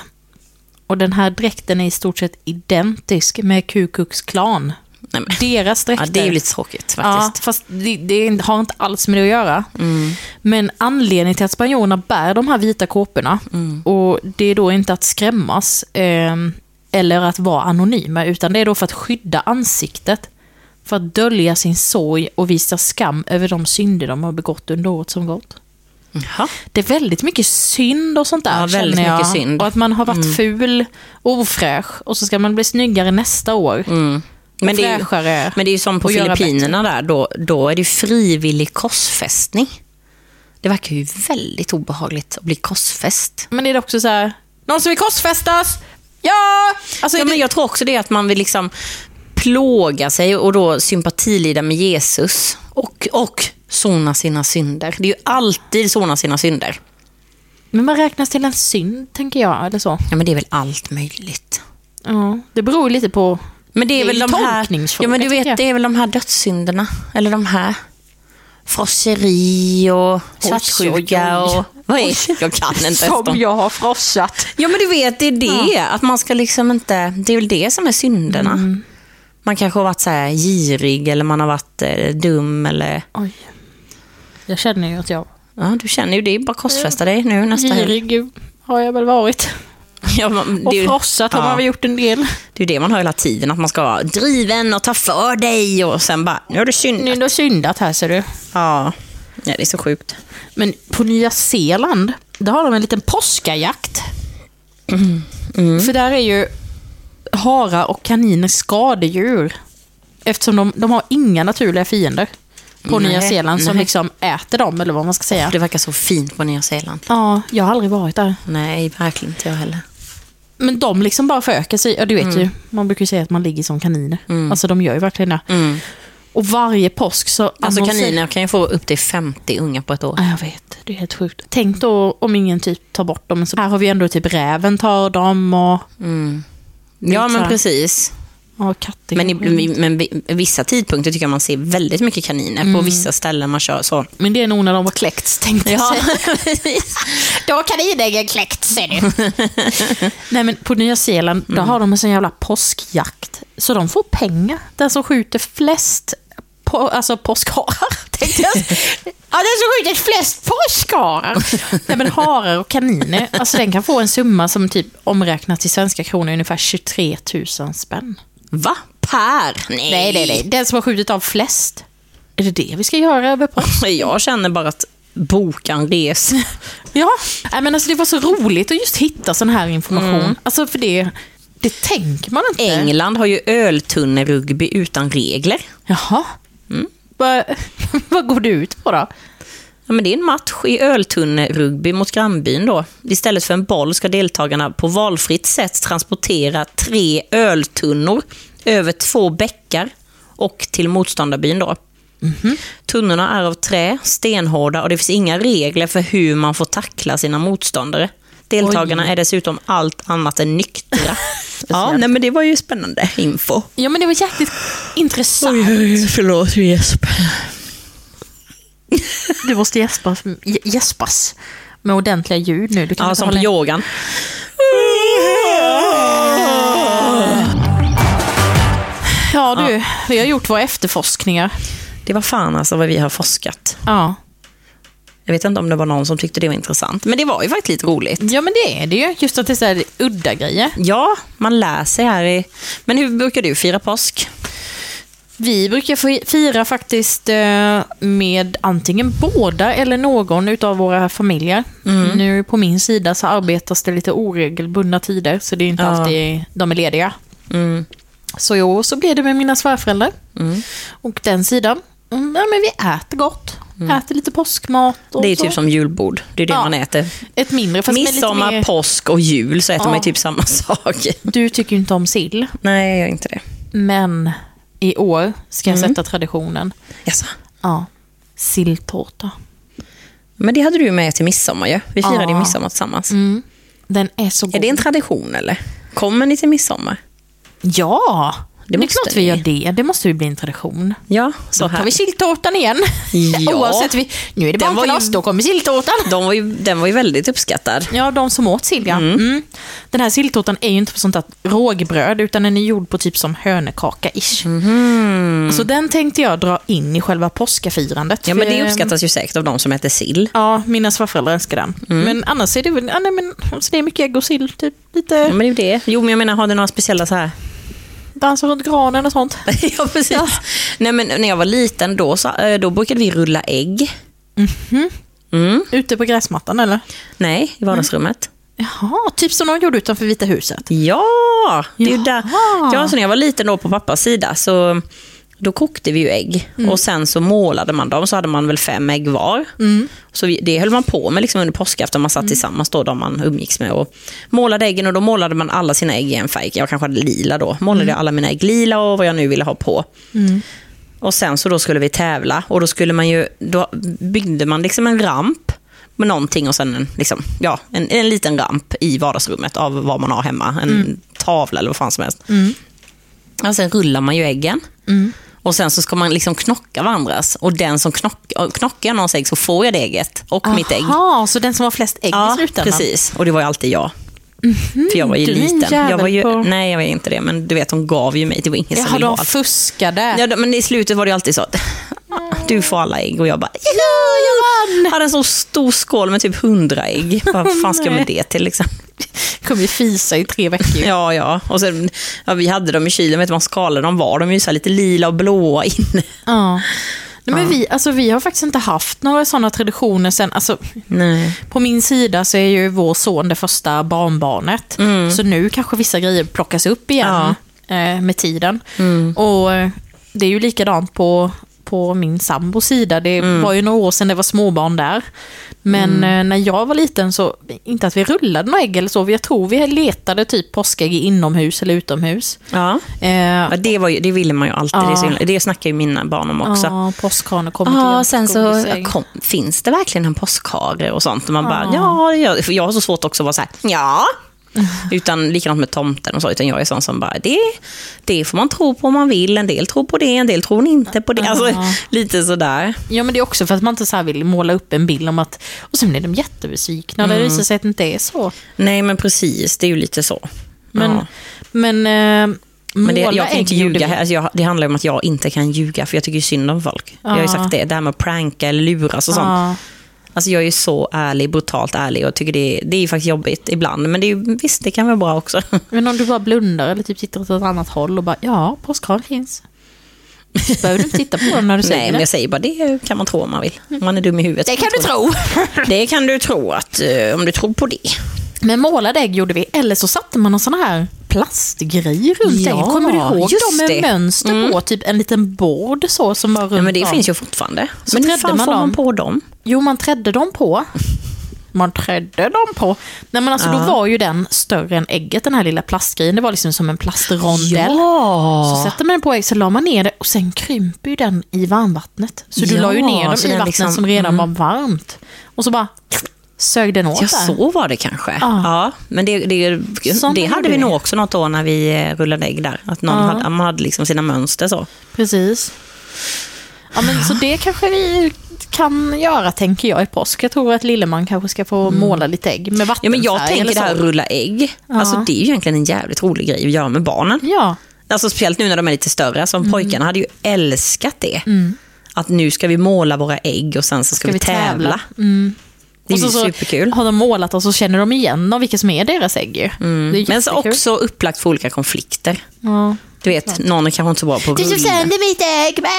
S1: Och den här dräkten är i stort sett identisk med Ku Klux Klan.
S2: Nej, men.
S1: Deras
S2: Ja,
S1: dräkter.
S2: det är ju lite tråkigt faktiskt.
S1: Ja, fast det, det är inte- har inte alls med det att göra.
S2: Mm.
S1: Men anledningen till att spanjorerna bär de här vita kåporna,
S2: Mm.
S1: och det är då inte att skrämmas eh, eller att vara anonyma, utan det är då för att skydda ansiktet. För att dölja sin sorg och visa skam över de synder de har begått under året som gått.
S2: Jaha.
S1: Det är väldigt mycket synd och sånt där.
S2: Ja, väldigt
S1: känner jag.
S2: mycket synd. Mm.
S1: Och att man har varit ful och ofräsch och så ska man bli snyggare nästa år.
S2: Mm. Men det, är ju,
S1: fräschare
S2: men det är ju som på
S1: och göra
S2: Filippinerna där, då, då är det ju frivillig korsfästning. Det verkar ju väldigt obehagligt att bli korsfäst.
S1: Men är det också så här, någon som vill korsfästas? Ja! Alltså,
S2: Ja,
S1: det-
S2: men jag tror också det att man vill liksom plåga sig och då sympatilida med Jesus och, och sona sina synder. Det är ju alltid sona sina synder.
S1: Men man räknas till en synd, tänker jag, eller så.
S2: Ja, men det är väl allt möjligt.
S1: Ja, det beror ju lite på...
S2: Men det
S1: Det
S2: är,
S1: är
S2: väl
S1: ju
S2: de här, ja,
S1: tolkningsfråga,
S2: men du
S1: tycker
S2: vet,
S1: jag.
S2: det är väl de här dödssynderna, eller de här. Frosseri och svartsjuka
S1: oj, oj.
S2: och... Vad är Jag kan inte ens dem.
S1: jag har frossat.
S2: Ja, men du vet, det är det. Att man ska liksom inte... Det är väl det som är synderna.
S1: Mm.
S2: Man kanske har varit så här girig eller man har varit eh, dum eller...
S1: Oj. Jag känner ju att jag...
S2: Ja, du känner ju det. Bara korsfästa dig nu nästa helg.
S1: Girig har jag väl varit.
S2: Ja, man,
S1: Och
S2: det är ju-
S1: frossat har
S2: ja.
S1: man väl gjort en del.
S2: Det är ju det man hör hela tiden, att man ska vara driven och ta för dig och sen bara, nu har
S1: Nu är
S2: du syndat.
S1: det syndat här, ser du.
S2: Ja. ja, det är så sjukt.
S1: Men på Nya Zeeland, där har de en liten påskajakt. För där är ju harar och kaniner skadedjur. Eftersom de, de har inga naturliga fiender på
S2: Nej,
S1: Nya Zeeland som
S2: nej.
S1: liksom äter dem, eller vad man ska säga.
S2: Det verkar så fint på Nya Zeeland.
S1: Ja, jag har aldrig varit där.
S2: Nej, verkligen inte jag heller.
S1: Men de liksom bara förökar sig. Ja, du vet ju. Man brukar ju säga att man ligger som kaniner. Alltså de gör ju verkligen det. Och varje påsk så...
S2: Alltså
S1: annonser-
S2: kaniner kan ju få upp till 50 unga på ett år.
S1: Ja, jag vet. Det är helt sjukt. Tänk då om ingen typ tar bort dem. Så här har vi ändå typ räven tar dem och...
S2: Ja,
S1: så
S2: men
S1: här.
S2: precis.
S1: Ja, katter.
S2: Men, i, men vi- vissa tidpunkter tycker jag man ser väldigt mycket kaniner på vissa ställen man kör så.
S1: men det är nog när de har kläckts, tänkte jag
S2: Ja,
S1: säga.
S2: precis.
S3: Då har kaninäggen kläckt, ser du.
S1: Nej, men på Nya Zeeland, där har de en sån jävla påskjakt. Så de får pengar. Den som skjuter flest på, alltså påskharar, tänkte jag säga. Ja, den som skjuter flest påskharar. Nej, men harar och kaniner. Alltså den kan få en summa som typ omräknat till svenska kronor är ungefär 23 000 spänn.
S2: Va? Per? Nej.
S1: Nej, nej, nej. Den som har skjutit av flest. Är det det vi ska göra över påsk?
S2: Jag känner bara att boka en res.
S1: Ja, Nej, men alltså det var så roligt att just hitta sån här information. Alltså för det, det tänker man inte.
S2: England har ju öltunnerugby utan regler.
S1: Jaha. Mm. Vad, vad går det ut på då?
S2: Ja, men det är en match i öltunnerugby mot grannbyn då. Istället för en boll ska deltagarna på valfritt sätt transportera tre öltunnor över två bäckar och till motståndarbyn då. Mhm. Tunnorna är av trä, stenhårda och det finns inga regler för hur man får tackla sina motståndare. Deltagarna är dessutom allt annat än nyktra. ja, nej, men det var ju spännande info.
S1: Ja, men det var jäkligt intressant.
S2: Förlåt, Jesper.
S1: Du måste gäspas, gä- gäspas med ordentliga ljud nu. Du kan
S2: Ja,
S1: inte
S2: som på
S1: hålla-
S2: yogan.
S1: ja, du. Vi har gjort våra efterforskningar.
S2: Det var fan alltså vad vi har forskat.
S1: Ja.
S2: Jag vet inte om det var någon som tyckte det var intressant, men det var ju faktiskt lite roligt.
S1: ja, men det är det ju. Just att det är så här udda grejer.
S2: Ja, man lär sig här i... Men hur brukar du fira påsk?
S1: Vi brukar fi- fira faktiskt eh, med antingen båda eller någon utav våra familjer.
S2: Mm.
S1: Nu på min sida så arbetas det lite oregelbundna tider, så det är inte
S2: Ja. Mm.
S1: alltid de är lediga. Så i år så blir det med mina svärföräldrar. Och den sidan, mm, ja, men vi äter gott. Äter lite påskmat och
S2: Mm. Det är
S1: så.
S2: typ som julbord, det är det
S1: Ja.
S2: man äter.
S1: Ett mindre, fast med lite
S2: Midsommar,
S1: mer...
S2: påsk och jul så
S1: Ja.
S2: äter man ju typ samma sak.
S1: Du tycker ju inte om sill,
S2: Nej, jag gör inte det.
S1: men i år ska
S2: Mm.
S1: jag sätta traditionen.
S2: Jaså?
S1: Ja, silltårta.
S2: Men det hade du ju med till midsommar ju. Vi firade ju
S1: Ja. Mm.
S2: midsommar tillsammans.
S1: Den är så god.
S2: Är det en tradition eller? Kommer ni till midsommar?
S1: Ja, det, är
S2: måste
S1: klart
S2: ni.
S1: vi gör det. Det måste ju bli en tradition.
S2: Ja, så
S1: Då tar vi
S2: här.
S1: silltårtan igen.
S2: Ja.
S1: Oavsett, vi, nu är det
S2: Den var ju-
S1: barnkalas, då kommer silltårtan.
S2: De var ju, den var ju väldigt uppskattad.
S1: Ja, de som åt sill ja. Mm. Den här silltårtan är ju inte på sånt där rågbröd, utan den är gjord på typ som hönekaka-ish. Så den tänkte jag dra in i själva påskafirandet.
S2: Mhm. Ja, men
S1: För,
S2: det
S1: eh,
S2: uppskattas ju säkert av de som äter sill.
S1: Ja, mina svärföräldrar älskar den.
S2: Mm.
S1: Men annars är det väl, ja, nej, men, alltså, det är mycket ägg och sill, typ lite
S2: Ja, men det är ju det. Jo, men jag menar, har du några speciella så här
S1: dansa runt granen och sånt.
S2: ja, precis. Nej, men när jag var liten då, så, eh, då brukade vi rulla ägg. Mm.
S1: Ute på gräsmattan eller?
S2: Nej, i vardagsrummet.
S1: Jaha, typ som de gjorde utanför Vita huset.
S2: Ja, det är ju där.
S1: Jaha.
S2: Ja, så när jag var liten då på pappas sida så då kokte vi ju ägg och sen så målade man dem så hade man väl fem ägg var. Så vi, det höll man på med liksom under påskafton, man satt tillsammans då de man umgicks med och målade äggen och då målade man alla sina ägg i en färg. Jag kanske hade lila då, målade jag alla mina ägg lila och vad jag nu ville ha på. Och sen så då skulle vi tävla och då skulle man ju, då byggde man liksom en ramp med någonting och sen en, liksom, ja, en, en liten ramp i vardagsrummet av vad man har hemma, en
S1: Mm.
S2: tavla eller vad fan som helst. Och sen rullar man ju äggen.
S1: Mm.
S2: Och sen så ska man liksom knocka varandras och den som knock, knockar någons ägg så får jag det ägget och mitt ägg.
S1: Jaha, så den som har flest ägg i slutändan. Mhm.
S2: precis. Och det var ju alltid jag. För jag var ju
S1: du är en
S2: liten. Jag
S1: jävel
S2: var ju,
S1: på-
S2: Nej, jag var inte det. Men du vet, de gav ju mig. Det var ingen som
S1: Jaha,
S2: ville ha
S1: de
S2: allt.
S1: fuskade.
S2: Ja, då- men i slutet var det ju alltid så att "Ah, du får alla ägg och jag bara
S1: Ja, jag vann!
S2: jag hade en så stor skål med typ hundra ägg. Vad fan ska jag med det till liksom?
S1: Kommer ju fisa i tre veckor.
S2: Ja, ja. Och sen, ja, vi hade dem i kylen, vet du, man skalade dem var. De är ju så här lite lila och blåa inne.
S1: Ja. Nej, men vi, alltså, vi har faktiskt inte haft några sådana traditioner sen. Alltså,
S2: Nej.
S1: på min sida så är ju vår son det första barnbarnet.
S2: Mm.
S1: Så nu kanske vissa grejer plockas upp igen eh, med tiden.
S2: Mm.
S1: Och eh, det är ju likadant på, på min sambos sida. Det
S2: Mm.
S1: var ju några år sedan det var småbarn där. Men eh, när jag var liten så, inte att vi rullade några ägg eller så, jag tror vi letade typ påskägg inomhus eller utomhus.
S2: Ja.
S1: Eh,
S2: Ja, det, var ju, det ville man ju alltid. Det, är så himla- det snackar ju mina barn om också.
S1: Ja, påskhane kommer till
S2: Ja,
S1: en
S2: sen så
S1: godisäng.
S2: kom, finns det verkligen en påskhare och sånt? Och man bara, ja, det gör det. För jag har så svårt också att vara så här, ja, Utan likadant med tomten och så, utan jag är sån som bara, det, det får man tro på om man vill. En del tror på det, en del tror inte på det. Alltså,
S1: Ja.
S2: lite sådär.
S1: Ja, men det är också för att man inte så här vill måla upp en bild om att... Och sen blir de jättebesvikna när det
S2: Mm.
S1: visar sig att det inte är så.
S2: Nej, men precis, det är ju lite så.
S1: Men,
S2: ja.
S1: men, eh,
S2: men det,
S1: måla
S2: jag kan
S1: ägg
S2: inte
S1: gjorde
S2: ljuga.
S1: vi.
S2: här. Alltså, jag, det handlar ju om att jag inte kan ljuga, för jag tycker ju synd om folk. Jag har ju
S1: Ja.
S2: sagt det, det här med att pranka eller luras och sånt.
S1: Ja.
S2: Alltså jag är ju så ärlig, brutalt ärlig och tycker det, det är ju faktiskt jobbigt ibland. Men det är ju, visst, det kan vara bra också.
S1: Men om du bara blundar eller typ tittar åt ett annat håll och bara ja, påskranen finns. Så behöver du inte titta på den när du säger
S2: Nej,
S1: det. Mm.
S2: men jag säger bara det kan man tro om man vill. Om man är dum i huvudet.
S1: Det kan du tro.
S2: Det kan du tro, att, eh, om du tror på det.
S1: Men målade ägg gjorde vi, eller så satte man någon sån här plastgrej runt
S2: Ja,
S1: äggen. Kommer du ihåg
S2: just
S1: dem med
S2: det. Mm.
S1: mönster på? Typ en liten board så som var runt
S2: Ja, men det
S1: om.
S2: finns ju fortfarande.
S1: Så
S2: men hur
S1: trädde
S2: fan
S1: man
S2: får man
S1: dem?
S2: på dem?
S1: Jo, man trädde dem på. Man trädde dem på. Nej, men alltså, Då var ju den större än ägget, den här lilla plastgrejen. Det var liksom som en plastrondell. Så
S2: Ja!
S1: sätter man den på ägg, så la man ner det och sen krymper ju den i varmvattnet. Så du
S2: Ja,
S1: la ju ner dem
S2: så
S1: i
S2: den
S1: vattnet
S2: liksom-
S1: som redan var varmt. Och så bara sög den åt
S2: Ja,
S1: där.
S2: så var det kanske.
S1: Ja.
S2: Ja, men det, det,
S1: Såna
S2: det hade
S1: gjorde
S2: vi
S1: vi.
S2: nog också något år när vi eh, rullade ägg där. Att någon
S1: Ja.
S2: hade, man hade liksom sina mönster så.
S1: Precis. Ja, men, Så det kanske vi kan göra, tänker jag, i påsk. Jag tror att Lilleman kanske ska få måla lite ägg med vattenfärg.
S2: Mm. Ja, men jag
S1: eller
S2: tänker det här
S1: så.
S2: rulla ägg. Alltså, det är ju egentligen en jävligt rolig grej att göra med barnen.
S1: Ja,
S2: Alltså speciellt nu när de är lite större. Som
S1: Mm.
S2: pojkarna hade ju älskat det. Att nu ska vi måla våra ägg och sen så ska, vi, tävla. Det är
S1: Mm. Och
S2: ju
S1: så,
S2: superkul.
S1: Så har de målat och så känner de igen dem, vilka som är deras ägg. ju. Det är
S2: Mm. Men så
S1: jättekul.
S2: också upplagt för olika konflikter.
S1: Ja.
S2: Du vet, någon är kanske inte så bra på att rulla.
S1: mitt ägg!
S2: Mm.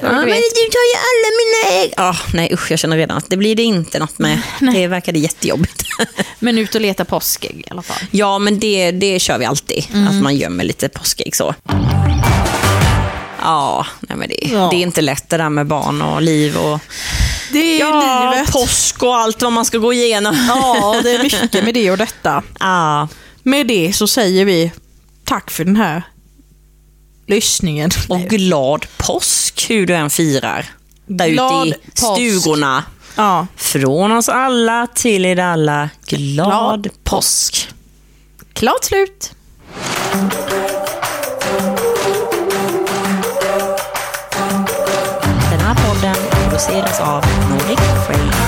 S2: Ja, men
S1: Du
S2: du tar
S1: vet.
S2: ju alla mina ägg. Ja, nej usch, jag känner redan att det blir det inte något med. Det verkade jättejobbigt.
S1: Men ut och leta påskägg i alla fall.
S2: ja, men det, det kör vi alltid.
S1: Mm.
S2: Att man gömmer lite påskägg så. Ja, nej men det,
S1: Ja.
S2: det är inte lätt det där med barn och liv och
S1: Det är
S2: ja, påsk och allt vad man ska gå igenom. Ah,
S1: Ja, det är mycket med det och detta.
S2: Ja,
S1: Med det så säger vi tack för den här lyssningen.
S2: och glad påsk hur du än firar. Där
S1: Glad
S2: ute i
S1: påsk.
S2: stugorna.
S1: Ja.
S2: Från oss alla till er alla, glad,
S1: Glad
S2: påsk.
S1: Klart slut!
S2: Den här podden produceras av Nordic Frame.